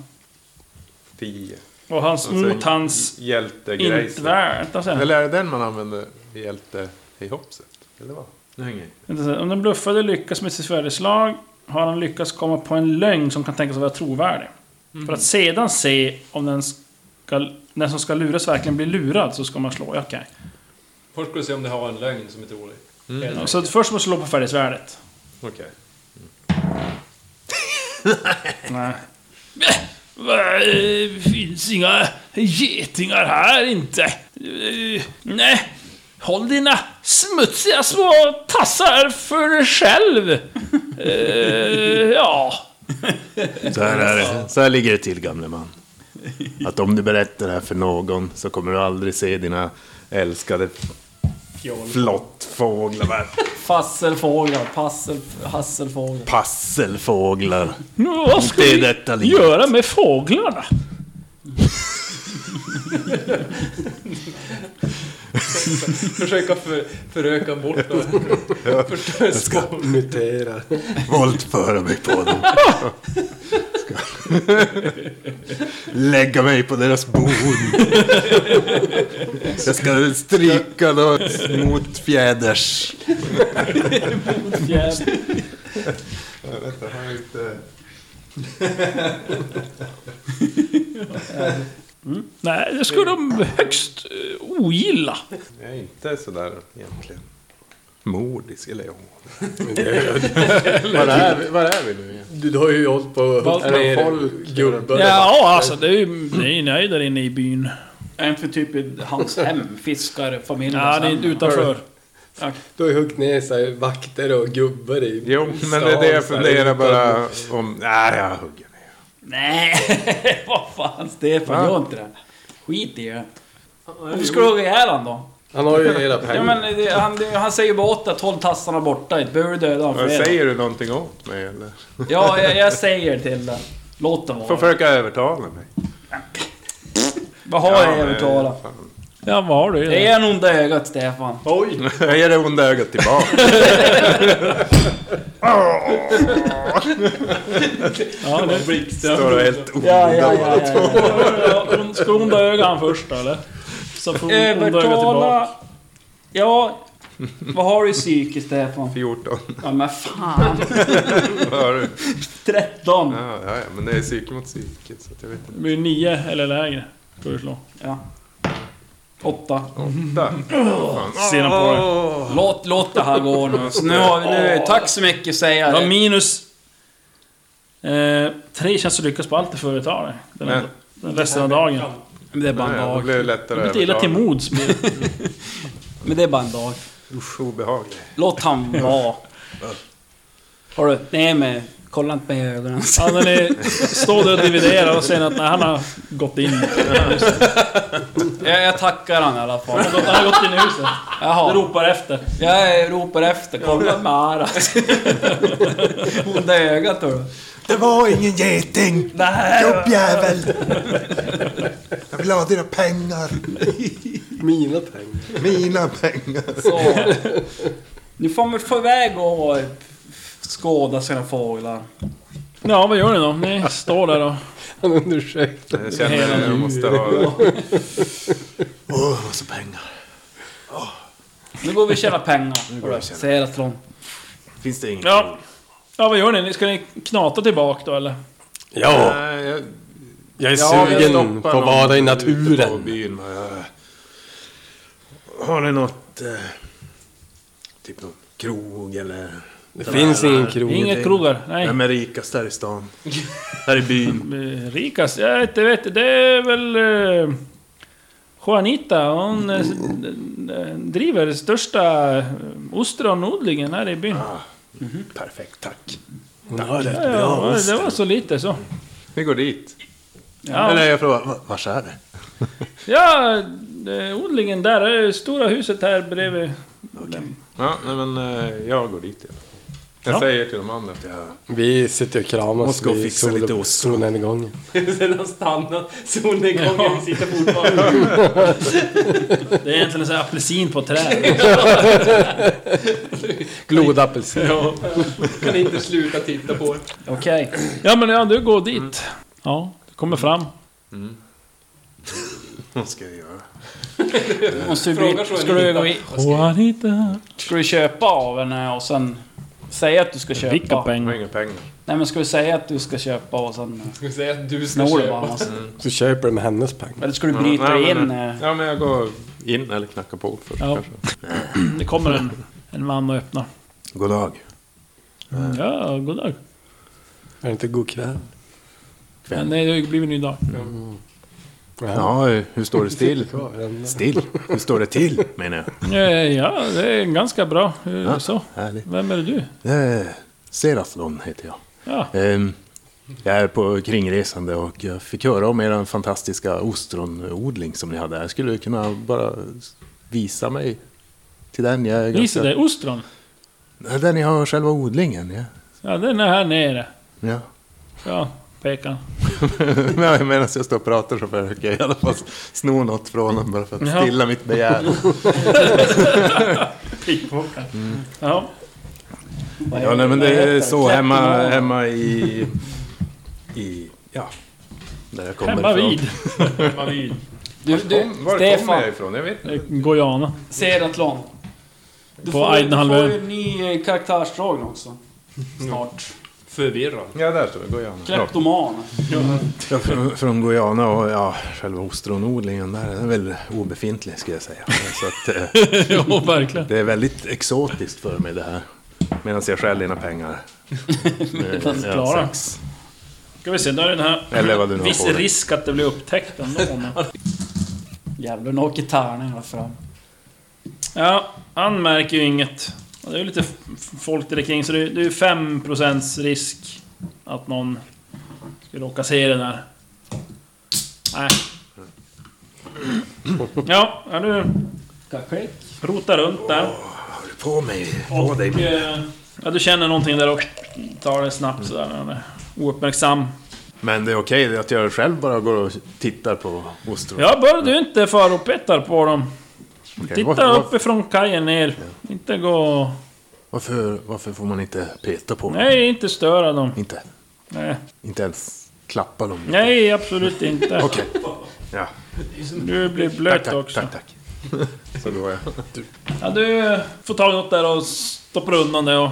Tio.
Och hans,
Alltså,
Och sen
mot hans alltså.
Hjältegrejs.
intvärld. Vänta sen.
Eller är det den man använder i hjälte i hoppset? Eller vad? Nu hänger jag inte.
Vänta sen. Om den bluffade lyckas med sitt svärdeslag har han lyckats komma på en lögn som kan tänkas vara trovärdig. För att sedan se om den, ska, den som ska luras verkligen blir lurad så ska man slå. Ja, Okej.
Först ska vi se om det har en lögn som är trolig.
Ja, Så att först måste man slå på färdighetsvärdet.
Okej.
Nej. Det eh, finns inga getingar här inte. Eh, Nej. Håll dina smutsiga små tassar för dig själv. Eh, ja.
Så här, är det. så här ligger det till, gamle man. Att om du berättar det här för någon så kommer du aldrig se dina älskade flottfåglar, va?
Fasselfåglar, passel, hasselfåglar.
passelfåglar.
Nu, vad ska
Det är
vi
detta livet.
göra med fåglarna?
Försöka för, föröka bort dem. Förstöra spår.
Mutera.
våldföra mig på dem. Ska- Lägga mig på deras bon. Jag ska stryka dem mot fjäders.
Vänta, har jag inte...
Nej, det skulle de högst eh, ogilla.
Jag är inte sådär egentligen. Mordisk, eller ja. Var är, vi- var är vi nu igen?
Du, du har ju hållit på och
Vad-
huggt ner
folk-
gubbar.
Ja, alltså det är ju... Det är nöjd där inne i byn.
Är inte typ i hans hem? Fiskarfamiljen?
Ja, det är utanför.
Du har ju huggit ner så här, vakter och gubbar i
Jo, men det är det jag funderar bara om. Nej, jag hugger ner.
Nej, vad fan Stefan,
Va?
gör inte det. Skit i det. Varför ska du hugga ihjäl honom då?
Han har ju hela pengar.
Ja, men det, han, det, han säger ju bara åt dig, att håll tassarna borta. Inte behöver du döda honom för
Vad
det.
Säger du någonting åt mig eller?
Ja, jag, jag säger till dig. Låt det
Får
vara.
försöka övertala mig.
Vad har jag
men-
övertala?
fan.
Ja, vad har du i det?
Det är en onda ögat, Stefan.
Jag ger det onda ögat tillbaka.
Ja, det-
Står och helt onda.
Ja, ja, ja, ja, ja.
Ja, Ska hon dö ögonen först då, eller? Så får hon onda ögat tillbaka.
Övertala... Ja... Vad har du i psyke, Stefan?
14.
Ja, men fan.
Vad har du?
13.
Ja, ja, ja, men det är psyke mot psyke. Så att jag vet inte.
Det blir nio eller lägre. Ska du slå.
Ja. 8.
Där.
Sedan på det.
Låt, låt det här gå nu. Så nu har vi, nu, tack så mycket säger
Det var
jag.
minus... Eh, tre känns att lyckas på allt du företar dig. Den,
Nej.
den resten av dagen.
Men det är bara en
Nej, Då
dag.
blir det lättare
Du blir inte illa till mods. blir det.
Men det är bara en dag.
Usch, obehaglig.
Låt han vara. Hörru, nej men... Kolla inte mig i ögonen.
Ja, när ni står där och dividerar och ser att nej, han har gått in.
Jag, jag tackar han i alla fall.
Han har gått- Han har gått in i huset. Du
Jaha.
ropar efter.
Jag ropar efter. Kolla med ära. Onda ögat, hörru.
Det var ingen geting,
Nej.
gubbjävel. Jag vill ha dina pengar.
Mina pengar.
Mina pengar.
Så. Nu får man få iväg och skåda sina fåglar.
Ja, vad gör ni då? Ni står där och...
Han undersökte.
Jag känner att jag måste ha...
Åh, oh, massa pengar.
Nu går vi och tjänar pengar. Säger att de...
Finns det inget?
Ja. Ja, vad gör ni? Ska ni knata tillbaka då, eller?
Ja.
Nej, jag
Jag är
Ja, vi
sugen
stoppar
på att
någon
vara i
ute på
naturen.
Byn med, har ni något... Eh, typ någon krog eller...
Det finns ingen krog.
Inget krogar, nej.
Vem är rikast här i stan? här i byn?
Eh, Rikast? Jag vet inte, vet, det är väl... eh, Juanita, hon eh, d- d- driver största eh, ostronodlingen här i byn.
Ah, Perfekt, tack.
Hon har
Ja,
det.
ja, det var så lite så.
Vi går dit.
Ja,
Eller jag frågar, va- vars är det?
ja eh, odlingen där, är det stora huset här bredvid.
Ja, nej men eh, jag går dit. ja. Jag
Ja.
säger till de andra.
Vi sitter och kramas
Måste gå och
vid
fixa
sol-
lite ost.
solnedgången.
Sen har stannat solnedgången, vi sitter fortfarande.
Det är egentligen så här apelsin på träd.
Glodapelsin.
Ja, kan inte sluta titta på det.
Okej. Ja men ja, du går dit. Ja, du kommer fram.
Vad ska jag göra?
Måste du
Frågar
bli,
så är
ska,
ni
du
hitta.
gå i,
Juanita.
ska du köpa av henne och sen säga att du ska
Vilka
köpa?
Jag har
pengar.
inga pengar.
Nej men ska du säga att du ska köpa och sen
Ska vi säga att du
snor
ska
du bara
köpa?
massa?
Så köper du med hennes pengar.
Eller ska du bryta
nej,
dig
men,
in?
eh,
eh,
Ja, men jag går in eller knackar på först
Ja.
kanske.
Det kommer en, en man och öppnar.
God dag. Mm.
Ja, god dag.
Är det inte god kväll?
Ja, nej, det har ju blivit en ny dag.
Ja, hur står det still? Still? Hur står det till, menar jag?
Eh, Ja, det är ganska bra. Eh, Så.
Härligt.
Vem är det du?
Eh, Seraflon heter jag.
Ja.
Ehm, Jag är på kringresande och jag fick höra om er fantastiska ostronodling som ni hade. Jag skulle kunna bara visa mig till den. Jag är
Visa dig, ostron.
Nej, Där ni har själva odlingen. Ja.
Ja, den är här nere.
Ja.
Ja, pekar.
Men Medan jag står och pratar så försöker jag i alla fall sno något från dem bara för
Ja.
att stilla mitt begär.
Ja.
vad
Ja,
är-
nej, men
vad
det
heter
är så
Captain
hemma,
Morgan.
hemma i... i ja, där jag kommer
Hemma
ifrån.
vid. Hemma vid.
Du, du,
Kom, var kommer jag
Stefan,
ifrån? Jag vet inte.
Gojana.
Seratlon. Du
På
får,
Aidenhalvön.
Du får ju en ny eh, karaktärsdrag också. Snart.
Förvirrad.
Ja, där står det. Går gärna.
Kleptoman.
Ja, från, från Guyana och ja, själva ostronodlingen där den är väl obefintlig skulle jag säga. Så att, eh,
Ja, verkligen.
det är väldigt exotiskt för mig det här. Medan jag stjäl dina pengar. Eh, ja,
Klara.
sex.
Ska vi se, då är den här...
Eller vad du nu har
Viss
på dig.
risk att det blir upptäckt ändå. men-
Jävlar, nu åker tärningarna fram.
Ja, han märker ju inget. Och Det är ju lite f- f- folk där kring, så det är det är ju 5% risk att någon skulle råka se den här. Nej. Ja, ja du
Kanske.
rotar runt där.
På mig. På
Och,
dig. min-
eh, ja, du känner någonting där och tar det snabbt sådär när han är eh, ouppmärksam.
Men det är okej det är att jag själv bara går och tittar på ostron.
Ja, bara du inte far och petar på dem.
Okej, varför,
Titta
varför,
uppifrån kajen ner. Inte gå...
varför, varför får man inte peta på dem?
Nej, inte störa dem.
Inte,
Nej,
inte ens klappa dem?
Nej absolut inte.
Okej. Ja,
Du blir blöt
tack, tack,
också.
tack, tack.
Så går jag.
Ja, du får tag i något där och stoppar undan det och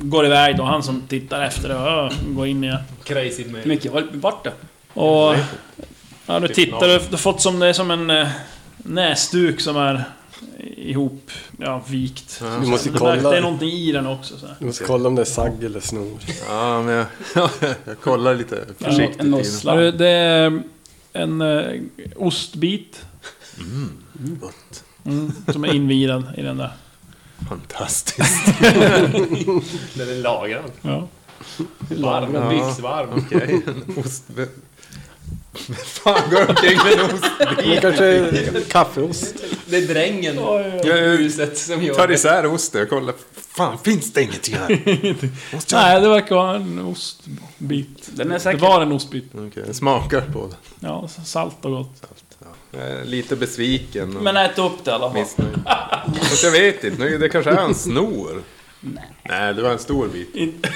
går iväg då. Han som tittar efter det ja, går in igen.
Crazy man.
Mycket. Vad- Vart det?
Och... Ja,
Typ
du tittar. Du har fått som det är som en eh, näsduk som är ihop... Ja, vikt.
Du måste
Det, verkar- det är
kolla,
någonting i den också. Så här.
du måste kolla om det är sagg eller snor.
Ja, men jag, jag kollar lite försiktigt.
En
i den.
Ja,
nossla.
du, Det är en eh, ostbit. Mm, som är invirad i den där.
Fantastiskt.
Den är lagrad.
Ja.
Varm. Lyxvarm.
Okej, en ost... Vem vem fan går omkring med en ost?
Men kanske kaffeost?
Det är drängen i
Jag
huset som gör
tar
det.
isär osten och kollar. Fan, finns det ingenting här? Måste jag...
Nej, det verkar vara en ostbit.
Den är
Det
säkert...
var en ostbit.
Okej, jag smakar på den.
Ja, salt och gott.
Jag är lite besviken och
Men ät upp det i alla fall.
missnöjd. Fast jag vet inte. nu- Det kanske är en snor. Nej, det var en stor bit.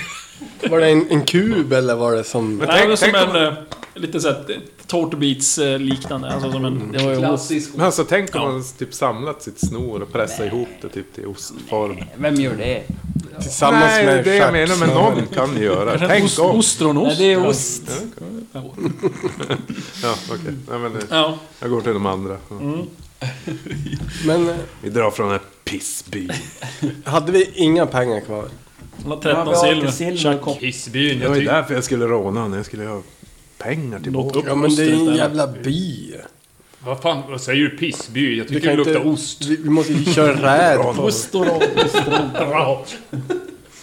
Var det en, en kub eller var det som...
Nej, det är som
tänk
en... eh, Lite såhär tårtbits-liknande. Alltså som en... Det var ju ost.
Klassisk
Men alltså tänk om man typ samlat sitt snor och pressat ihop det typ till ostform.
Vem gör det?
Tillsammans
Nej,
med
det är det jag menar, men
stjärtsnören.
någon kan ju göra.
Kanske
Tänk
ost,
om.
ostronost?
Nej, det är ost.
Ja, okej. Nej, men det-
Ja. Mm.
jag går till de andra. Ja.
Men eh,
Vi drar från den här pissbyn.
hade vi inga pengar kvar?
Han har
Ja,
13
vi har
silver.
lite silver och koppar.
Hissbyn,
Det
jag
var ju
tycker...
därför jag skulle råna honom. Jag skulle ha pengar tillbaka.
Ja men det är en jävla by.
Vad fan, vad säger du pissby? Jag
Du
tycker det
inte-
luktar ost.
Vi, vi måste ju köra räd på...
Bra.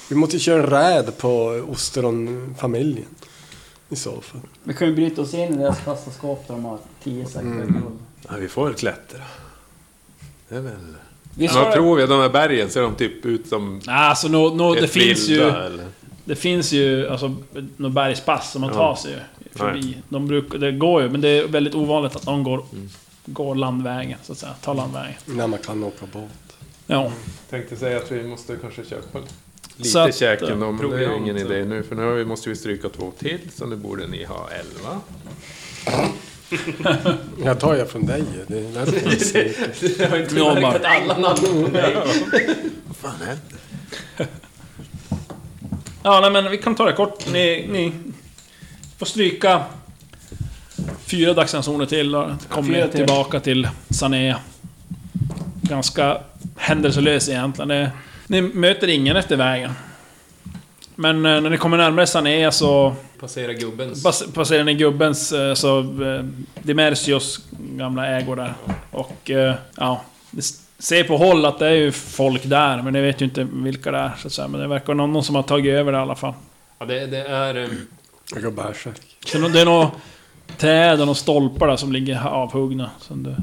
Vi måste ju köra räd på ostronfamiljen. I så fall.
Vi kan ju bryta oss in i deras fasta skåp där de har 10 säckar
Mm.
guld.
Ja, vi får väl klättra. Det är väl...
Vi
Vad
ska...
tror vi? De här bergen, ser de typ ut som...
Nej, alltså nå nå, det
ett
finns ju...
vilda, eller?
Det finns ju alltså något bergspass som man
Ja.
tar sig ju förbi. De bruk, det går ju, men det är väldigt ovanligt att någon går, går landvägen, så att säga. Tar landvägen.
När man kan åka båt.
Ja.
Tänkte säga att vi måste kanske köpa
Så
Lite
att,
käken då, men det är ju
proviant,
ingen
så.
idé nu. För nu har vi- måste vi stryka två till, så nu borde ni ha elva.
Jag tar jag från dig ju. Det är därför jag säger.
Jag bara,
Alla namn.
Vad fan händer?
ja, nej, men vi kan ta det kort. Ni, ni får stryka fyra dagsransoner till och kommer
Fyra
ni
till.
tillbaka till Sanea. Ganska händelselös egentligen. Det, ni möter ingen efter vägen. Men eh, när ni kommer närmare Sanea så
Passera gubbens.
Bas passerar ni gubbens, eh, så... eh, Demersios gamla ägor där. Och eh, ja... Ni s- ser på håll att det är ju folk där, men ni vet ju inte vilka det är så att säga. Men det verkar vara någon som har tagit över det i alla fall.
Ja, det, det är... eh,
Jag går bärsärk.
Så nå- det är nog träd och några stolpar där som ligger avhuggna. Så det,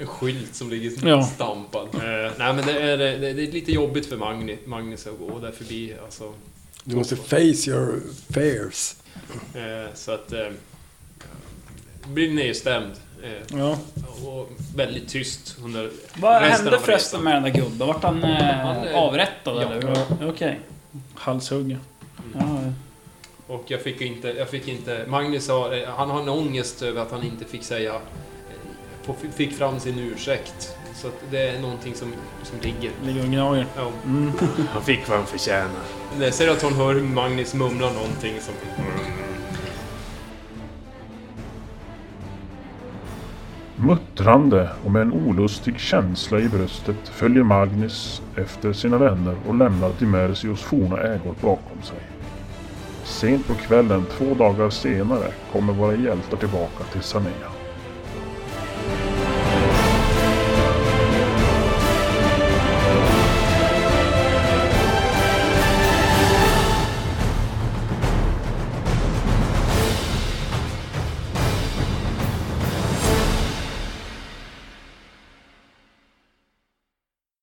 En skylt som ligger
Ja.
stampad. Eh, nej men det är, det, det är lite jobbigt för Magni, Magnus att gå där förbi. Alltså,
Du måste face your fears.
eh, så att... Eh, blir nedstämd. Eh,
ja.
och väldigt tyst under
Vad
resten
hände
av
förresten
resan.
med den där gubben? Vart han, eh,
Han, eh,
avrättad
ja.
eller? Okej.
Halshuggen.
Ja, ja.
Och jag fick ju inte... Jag fick inte Magnus har, eh, han har en ångest över att han inte fick säga... eh, få- Fick fram sin ursäkt. Så att det är någonting som, som ligger.
Ligger och gnager.
Ja.
Mm. Han fick vad han förtjänar.
Det ser att hon hör Magnus mumla någonting som...
Muttrande och med en olustig känsla i bröstet följer Magnus efter sina vänner och lämnar Dimersios forna ägor bakom sig. Sent på kvällen två dagar senare kommer våra hjältar tillbaka till Sanea.